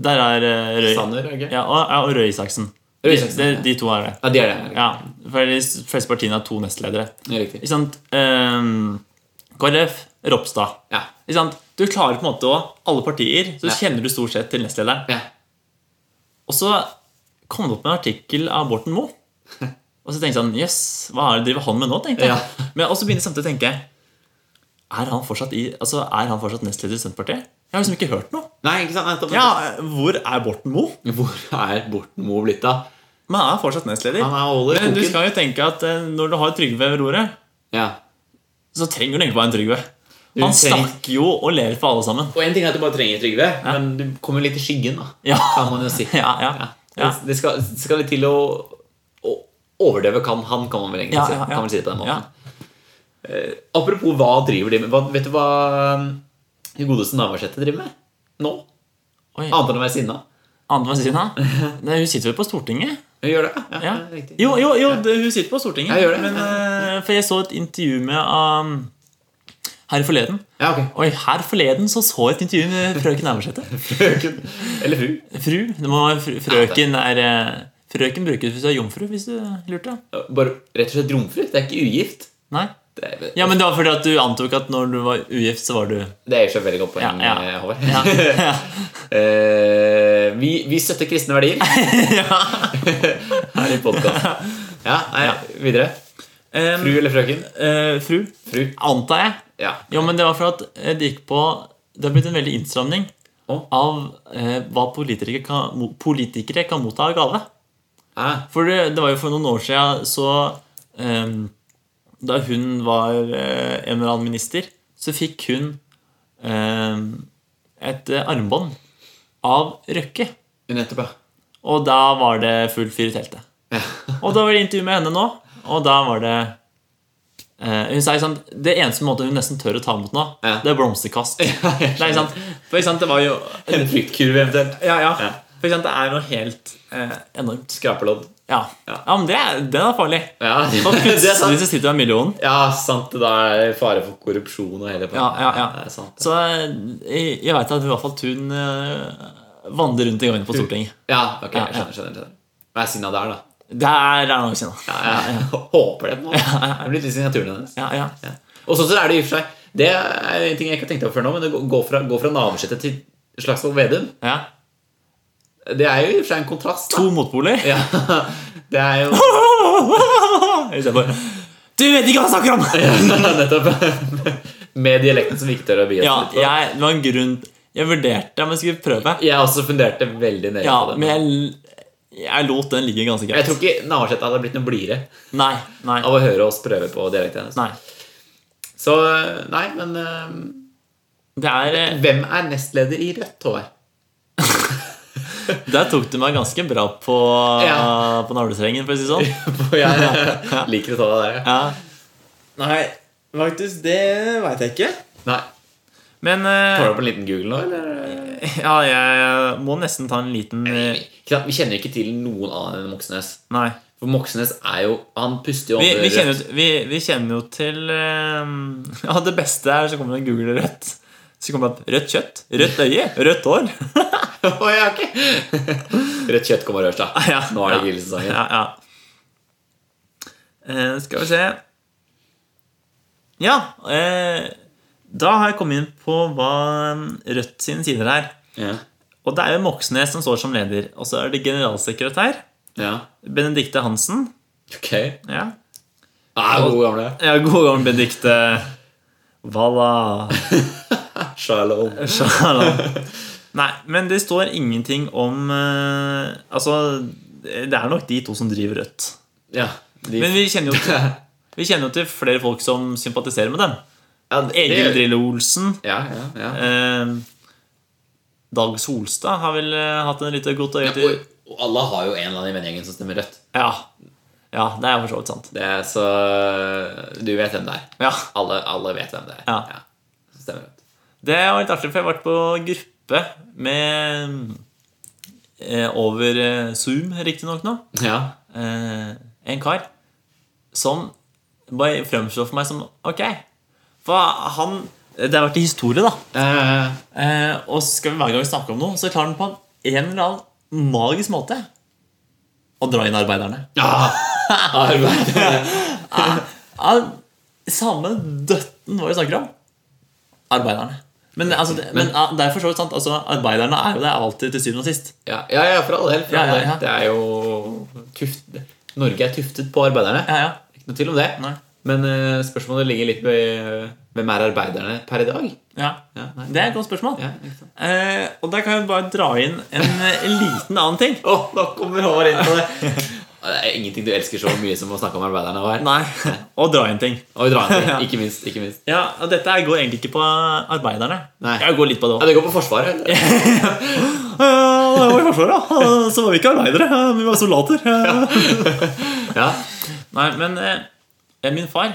Der er eh, Røe
Sander, er det ikke?
ja, og, ja, og Røe Isaksen.
Røe
De,
Isaksen,
de,
ja.
de to er det.
Ja, det er det
Ja, for de fleste partiene har to nestledere.
Ja, riktig
Ikke sant? Ehm, KrF, Ropstad.
Ja,
Ikke sant? Du klarer på en måte å Alle partier, så
Ja.
kjenner du stort sett til nestlederen.
ja
Og så kom det opp med en artikkel av
*laughs*
Borten Moe. Og så tenkte jeg sånn Jøss, hva er det driver han med nå? tenkte jeg.
Ja.
*laughs* Men også begynte jeg samtidig å tenke Er han fortsatt, i, altså, er han fortsatt nestleder i Senterpartiet? Jeg har liksom ikke hørt noe.
Nei, ikke sant? Nettopp.
Ja, Hvor er Borten Moe?
Hvor er Borten Moe blitt av?
Men han er fortsatt nestleder.
Han er holder
Men du
koken.
skal jo tenke at eh, når du har Trygve ved roret,
Ja.
så trenger du egentlig bare en Trygve. Han
trenger-
stakk jo og ler for alle sammen.
Og en ting er at du bare trenger Trygve, men du kommer litt i skyggen, da.
Ja.
Kan man jo si.
*laughs* Ja, ja,
Ja.
ja.
Det- Det skal, det skal litt til å, å overdøve kan han, kan man vel egentlig
Ja,
si.
ja, ja.
Kan man si det på den måten.
Ja.
Apropos hva driver de med? Hva, vet du hva um, godeste Navarsete driver med nå?
Oi,
Annet enn å være sinna. *laughs*
Annet ved siden av? Nei, Hun sitter vel på Stortinget?
Jeg gjør det, ja.
Ja.
det er riktig.
Jo, jo, jo det, hun sitter på Stortinget.
Jeg gjør det.
Men, eh, for jeg så et intervju med um, her forleden.
Ja, ok. *laughs*
Oi, her forleden så så jeg et intervju med frøken Navarsete.
Frøken. Eller fru.
Fru. Det må være fr frøken er eh, Frøken brukes hvis du er jomfru, hvis du lurte.
Bare rett og slett romfru. Det er ikke ugift.
Nei?
Det er,
Ja, men det var fordi at du antok at når du var ugift, så var du
det er jo så veldig godt poeng,
Ja, ja.
eh, Håvard.
Ja.
*laughs* Eh, vi, vi støtter kristne
*laughs*
verdier *laughs* her i podkasten. Ja, nei, videre.
Um,
Fru eller frøken?
eh, fru.
Fru.
Antar jeg.
Ja.
Jo, men det var for at eh, det gikk på Det har blitt en veldig innstramning
Å?
av eh, hva politikere kan, mo- politikere kan motta av gave.
Ah,
For det, det var jo for noen år siden så ehm, Da hun var eh, en eller annen minister, så fikk hun ehm, et eh, armbånd av Røkke.
nettopp, ja.
Og da var det fullt fyr i teltet. Og da var det intervju med henne nå, og da var det eh, Hun sa ikke sant Det eneste måten hun nesten tør å ta imot nå,
Ja.
det er blomsterkast.
jeg
Nei, ikke sant? For ikke sant, det var jo
*laughs* En fruktkurv eventuelt.
Ja, ja.
Ja.
For ikke sant, det er noe helt eh, enormt.
Skrapelodd.
Ja.
Ja.
ja, men det er, den er farlig.
Ja, *laughs* det
*laughs* Og
er
plutselig
sant.
så sitter du med en million.
Ja, sant. Da er det fare for korrupsjon og hele pakka.
Ja, ja, ja.
Det er sant.
Så eh, jeg, jeg veit at i hvert fall Thun eh, vandrer rundt i gangen på Stortinget.
Ja, ok,
Ja,
jeg skjønner, skjønner, skjønner. Hva er sinna der, da?
Der er det noe siden.
Ja, jeg *laughs* håper det på en måte. Det blir litt signaturen hennes.
Ja, ja.
Ja. Og sånn så er det i og for seg Det er en ting jeg ikke har tenkt over før nå, men det går fra, går fra Navarsete til Slagsvold Vedum.
ja.
Det er jo i og for seg en kontrast.
To
Da.
motpoler.
Ja, *laughs* det er jo *laughs*
Istedenfor Du vet ikke hva jeg snakker om!
nettopp *laughs* Med dialekten som vi ikke tør å by
Ja,
oss litt på.
jeg, det var en grunn Jeg vurderte om jeg skulle prøve.
Jeg også funderte veldig nøye
Ja,
på det.
men jeg, jeg lot den ligge ganske
Jeg
greit.
tror ikke Navarsete hadde blitt noe blidere
Nei, nei,
av å høre oss prøve på dialekten hennes.
nei.
Så nei, men eh,
Det er eh,
Hvem er nestleder i Rødt, Håvard? *laughs*
Der tok du meg ganske bra på,
Ja.
på navlestrengen, for å si det
*laughs*
sånn.
For jeg
*laughs*
liker å ta deg der.
Ja.
Nei, faktisk, det veit jeg ikke.
Nei,
Men eh,
Tar du opp en liten Google nå, eller?
Ja, jeg må nesten ta en liten eh,
Ikke sant, Vi kjenner ikke til noen annen enn Moxnes.
Nei.
For Moxnes er jo Han puster jo
Vi, vi,
ånder
kjenner,
rødt.
jo- vi, vi kjenner jo til eh, *laughs* Ja, det beste er så kommer det en Google rødt. Så kommer det opp rødt kjøtt, rødt øye, rødt hår.
*laughs* Å, ja, ok. Rødt kjøtt kommer rørt, da.
*laughs* *laughs* Ja,
Nå er det
ja.
grillsesongen.
Ja, ja. Eh, skal vi se Ja. eh, da har jeg kommet inn på hva eh, Rødt sine sider er.
Ja.
Og det er jo Moxnes som står som leder. Og så er det generalsekretær
ja.
Benedicte Hansen.
Ok.
Ja,
Ah, gode gamle
Ja, god gang, Benedikte. Valla.
Shalom.
Shalom. Nei, men det står ingenting om eh, Altså, det er nok de to som driver Rødt.
Ja. De,
Men vi kjenner jo til, vi kjenner jo til flere folk som sympatiserer med dem.
ja, det-
Egil Drillo Olsen.
*laughs* Ja, ja, ja.
Eh, Dag Solstad har vel eh, hatt en liten godt øye til.
Og, og alle har jo en eller annen i vennegjengen som stemmer rødt.
Ja. ja, det er for så vidt sant.
Det er så eh, Du vet hvem det er.
Ja,
Alle, alle vet hvem det er.
Ja.
Som stemmer rødt.
Det var litt artig, for jeg har vært på gruppe med eh, Over eh, Zoom, riktignok nå.
Ja.
eh, en kar som bare fremstår for meg som ok. For han Det har vært i historie, da.
Eh,
Eh, og så skal vi hver gang vi snakker om noe, så klarer han på en eller annen magisk måte å dra inn arbeiderne. *laughs*
ja. Arbeid.
Han, samme døtten hva vi snakker om. Arbeiderne. Men, altså, det, men, ah, det er for så vidt sant. Altså, arbeiderne er jo det alltid til syvende og sist.
Ja, ja, ja, for all del. For
Ja,
all del.
ja, ja.
Det er jo tuft... Norge er tuftet på arbeiderne.
Ja, ja.
Ikke noe til om det.
Nei.
Men eh, spørsmålet ligger litt ved eh, hvem er arbeiderne per i dag?
ja.
Ja, nei.
Det er et godt spørsmål.
Ja, ikke sant.
Eh, og der kan jeg bare dra inn en eh, liten annen ting.
Å, nå kommer Håvard inn på det! Det er ingenting du elsker så mye som å snakke om arbeiderne. Håvard.
Nei, *laughs* og dra inn ting.
Og dra inn,
*laughs* Ja.
ikke minst. ikke minst
Ja, og Dette her går egentlig ikke på arbeiderne.
Nei.
Jeg går litt på det
ja,
òg.
Det går på Forsvaret. eller?
Da Eh, var i Forsvaret, da. *laughs* Så var vi ikke arbeidere, men vi var soldater.
Ja.
Nei, men eh, min far,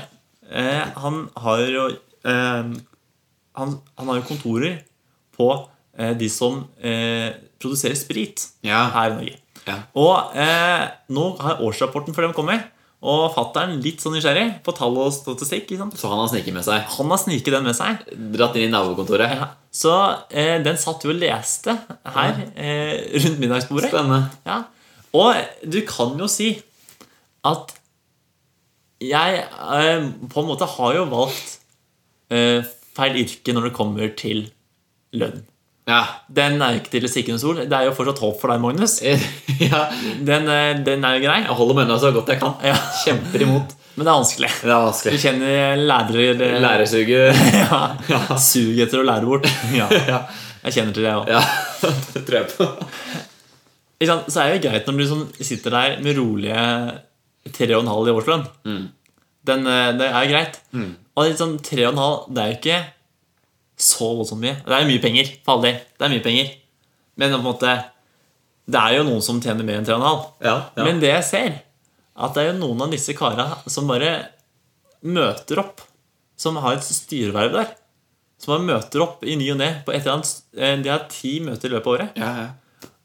eh, han har jo eh, han, han har jo kontorer på eh, de som eh, produserer sprit
Ja.
her i Norge.
Ja.
Og eh, nå har årsrapporten for dem kommet, og fatter'n litt sånn nysgjerrig på tall og statistikk. Ikke sant?
Så han har sneket med seg.
Han har sniket den med seg.
Dratt inn i nabokontoret.
Så eh, den satt vi og leste her eh, rundt middagsbordet.
Spennende.
Ja. Og du kan jo si at jeg eh, på en måte har jo valgt eh, feil yrke når det kommer til lønn.
Ja. *laughs*
Den er jo ikke til å stikke under stol. Det er jo fortsatt håp for deg, Magnus.
ja.
Den, eh, den er jo grei.
Jeg holder meg unna så godt jeg kan.
Ja.
Kjemper imot.
Men det er vanskelig.
Det er
Du
vanskelig.
kjenner lærer
Læresuget
*laughs* ja. Sug etter å lære bort. Ja.
Ja.
Jeg kjenner til det òg.
Ja, *laughs* det tror jeg på.
Så er det jo greit når du sånn sitter der med rolige 3,5 i årslønn. Den, eh, det er jo greit. Og litt sånn 3,5 det er jo ikke så voldsomt mye. Det er jo mye penger, for all del. Det er mye penger. Men på en måte det er jo noen som tjener mer enn 3,5.
Ja, ja.
Men det jeg ser, at det er jo noen av disse kara som bare møter opp. Som har et styreverv der. Som bare møter opp i ny og ne. på et eller annet, eh, De har ti møter i løpet av året.
ja, ja.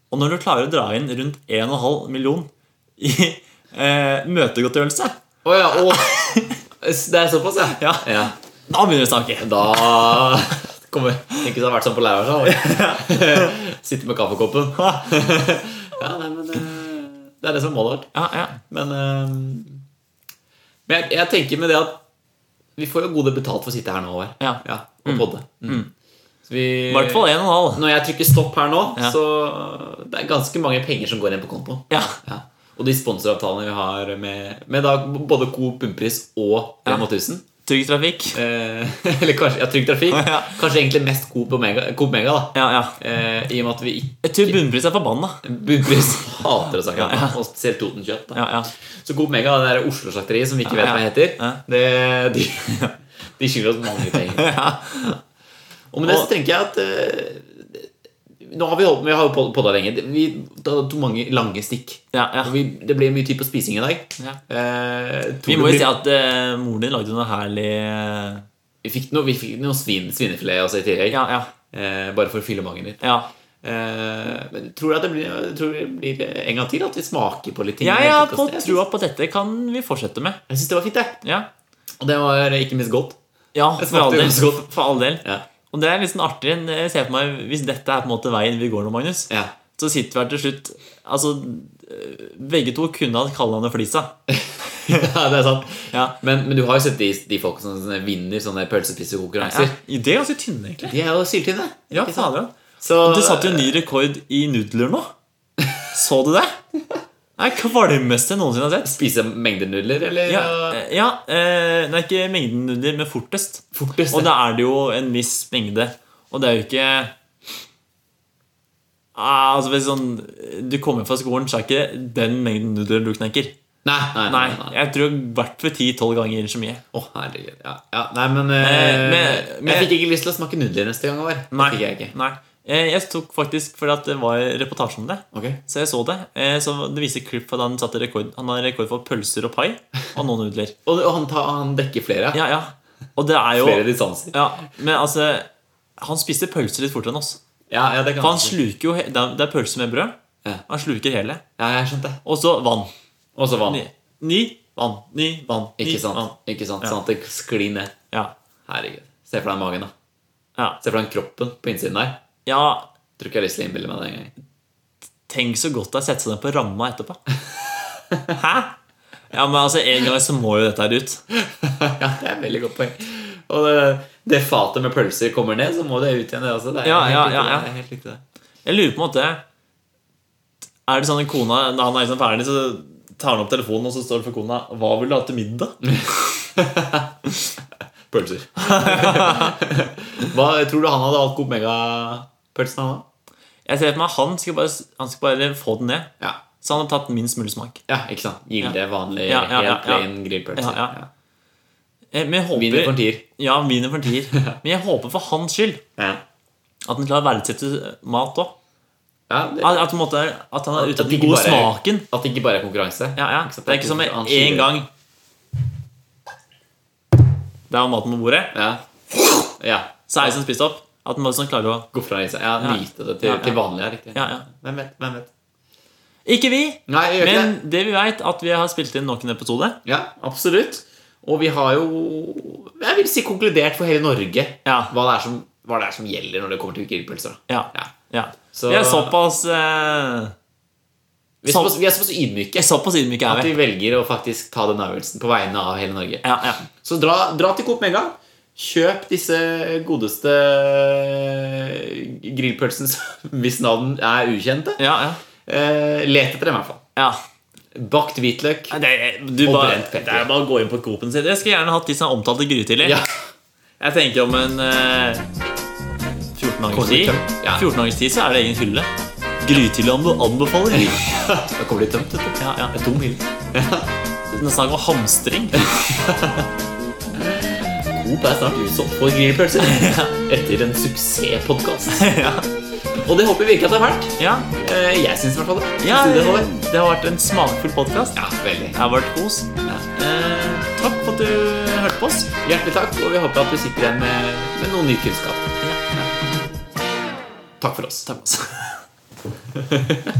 Og når du klarer å dra inn rundt 1,5 million i eh, møtegodtgjørelse,
Å ja,
*laughs*
å. Det er såpass, ja.
Ja. da begynner vi å snakke.
Da kommer Tenk hvis det har vært sånn på
*laughs*
Leirdal. Sitte med kaffekoppen. Ja, nei, men eh, Det er det som målet vårt.
Ja, ja.
Men, eh, men jeg, jeg tenker med det at vi får jo gode betalt for å sitte her nå. Håvard.
Ja. Mm.
og podde. Mm. Så vi,
I hvert fall 1,5.
Når jeg trykker stopp her nå,
Ja.
så det er ganske mange penger som går inn på konto.
Ja.
Ja. Og de sponsoravtalene vi har med, med da, både Coop Bunnpris og
Ja.
Rema 1000
Trygg trafikk.
eh, *laughs* Eller kanskje ja, Trygg Trafikk.
Ja.
Kanskje egentlig mest Coop Omega, Coop Mega da.
Ja, ja.
Eh, I og med at vi ikke
Jeg tror bunnpris er forbanna.
Bunnpris hater oss akkurat nå,
Ja,
og spesielt Totenkjøtt. da.
Ja, ja.
Så Coop Mega, det der Oslo-slakteriet som vi ikke vet hva
Ja.
heter,
Ja.
det, de, *laughs* de skylder oss mange
*laughs*
penger. Og med det så tenker jeg at eh, Nå har vi holdt vi har jo pod- podda lenge. Vi tok mange lange stikk.
ja, ja.
Og vi, det blir mye tid på spising i dag.
Ja.
Eh, tror
Vi
det
må jo
blir-
si at eh, moren din lagde noe herlig eh,
vi fikk noe, vi fikk noe svin, svinefilet også i tillegg.
Ja, ja.
Eh, bare for å fylle magen litt.
Ja.
Eh, men tror jeg at det blir, jeg tror det blir en gang til at vi smaker på litt ting.
Jeg har
Jeg
på
synes-
trua på dette kan vi fortsette med.
Jeg syns det var fint, det.
Ja,
Og det var ikke minst godt.
ja
Det
for,
smakte
all
jo
del,
også godt.
for all del.
Ja.
Og det er litt sånn artig. Jeg ser for meg, Hvis dette er på en måte veien vi går nå, Magnus,
Ja. *laughs*
så sitter vi her til slutt Altså, øh, begge to kunne ha kallenavnet Flisa.
ja, det er sant.
Ja.
Men, men du har jo sett de, de folk som vinner sånne
Ja.
pølsepissekonkurranser.
Det er ganske tynne, egentlig.
De er jo syltynne.
Ja,
ikke sant?
fader.
Så,
Du satte jo ny rekord i nudler nå. Så du det? Det er det kvalmeste jeg noensinne har sett.
Spise mengder nudler, eller?
Ja, eh, ja eh, Det er ikke mengden nudler, men fortest.
Fortest.
Og da er det jo en viss mengde. Og det er jo ikke ah, altså hvis sånn, Du kommer fra skolen, så er ikke den mengden nudler du knekker.
Nei, nei, nei. nei,
Nei,
nei.
jeg tror i hvert fall 10-12 ganger så mye.
Å, herregud. Ja, ja. Nei, men eh,
Eh, men- men-
Jeg fikk ikke lyst til å smake nudler neste gang. Var.
Nei,
Det fikk jeg ikke.
nei. Eh, Jeg tok faktisk fordi at det var reportasje om det.
Ok.
Så jeg så det. Eh, Så det viser klipp for at han satte rekord Han har rekord for pølser og pai og noen nudler.
Og, og han, tar- han dekker flere.
Ja, ja. Og det er jo
Flere distanser.
ja, Men altså Han spiste pølser litt fortere enn oss.
Ja, ja, det kan
For han
jeg si.
sluker jo he- Det er- det er pølse med brød.
Ja.
Han sluker hele.
Ja, jeg skjønte det.
Og så vann.
Og så vann.
Ni, ni vann. Ni vann. Ni,
Ikke sant?
Vann.
Ikke sant?
Ja.
Sånn at det sklir ned.
Ja.
Herregud. Se for deg magen, da.
Ja.
Se for deg kroppen på innsiden der.
ja.
Tror ikke jeg har lyst til å innbille meg det engang. *laughs*
Tenk så godt det er å sette seg ned på ramma etterpå. Hæ? Ja, men altså, En gang så må jo dette her ut.
Ja, det er et veldig godt poeng. Og det, det fatet med pølser kommer ned, så må det ut igjen, det også. Det er
Ja,
helt
ja,
riktig,
ja, ja.
Det er helt riktig, det.
Jeg lurer på en måte Er det sånn at kona Da han er liksom ferdig, så tar han opp telefonen, og så står det for kona 'Hva vil du ha til middag?' *laughs*
Pølser. Hva tror du han hadde valgt Coop Mega-pølsen han da?
Jeg ser for meg han skal bare, han skal bare få den ned.
Ja.
Så han har tatt minst mulig smak.
ja, ikke sant? Gilde, vanlig,
Ja, ja, ja,
helt plain
Ja,
grillpølser.
ja. Eh, Men jeg håper,
Vinner for en tier.
Ja, viner for
*laughs*
en tier. Men jeg håper for hans skyld
Ja.
at han klarer å verdsette mat òg.
Ja, det,
At, at, på en måte- at han er ute
At det
etter den
ikke
gode
bare-
smaken.
at det ikke bare er konkurranse.
Ja, ja.
sant?
Det er ikke som
han
med
skiller.
én gang Der var maten på bordet.
Ja. ja.
Så er det som spist opp. At man liksom klarer å
Gå fra seg. Ja, nyte det til,
Ja, ja.
til vanlig er riktig.
Ja, ja.
Hvem vet? Hvem vet?
Ikke vi,
Nei, jeg gjør ikke
men det vi veit, at vi har spilt inn nok en episode.
Ja, absolutt. Og vi har jo jeg vil si konkludert for hele Norge
Ja.
hva, det er som, hva det er som gjelder når det kommer til grillpølser. da.
Ja.
Ja.
ja.
Så-
Vi er såpass eh,
Vi, er
Som-
såpass, vi er såpass ydmyke
Såpass ydmyke
at
er
vi
vi.
velger å faktisk ta den avgjørelsen på vegne av hele Norge.
Ja, ja.
Så dra, dra til Coop Mega. Kjøp disse godeste eh, grillpølsene som- *laughs* hvis navn er ukjente.
ja, ja.
Eh, let etter dem, i hvert fall.
ja.
Bakt hvitløk.
Nei, Det, er- du
Og
bare,
brent pepper.
det er bare å gå inn på Coop-en sin. Jeg skulle gjerne hatt de som er omtalt i grytidlig.
Ja.
Jeg tenker om en eh, 14 dagers tid
tømt? Ja.
14 dagers tid så er det egen hylle. Grytidlig anbe- anbefaler.
Da kommer det tømt. vet du.
Ja, ja.
Det er tom hylle.
Nesten snakk om hamstring.
Coop er snart utsolgt for
*laughs*
grillpølser etter en suksesspodkast.
*laughs* ja.
Og det håper vi virkelig at det har vært.
ja.
Eh, Jeg syns i hvert fall det.
Ja,
Synes du
det
det, Håvard?
har vært en smakfull podkast.
ja, veldig.
Det har vært kos. Eh, takk for at du hørte på oss.
Hjertelig takk, og vi håper at du sitter igjen med, med noe ny kunnskap. Takk for oss.
Takk for oss.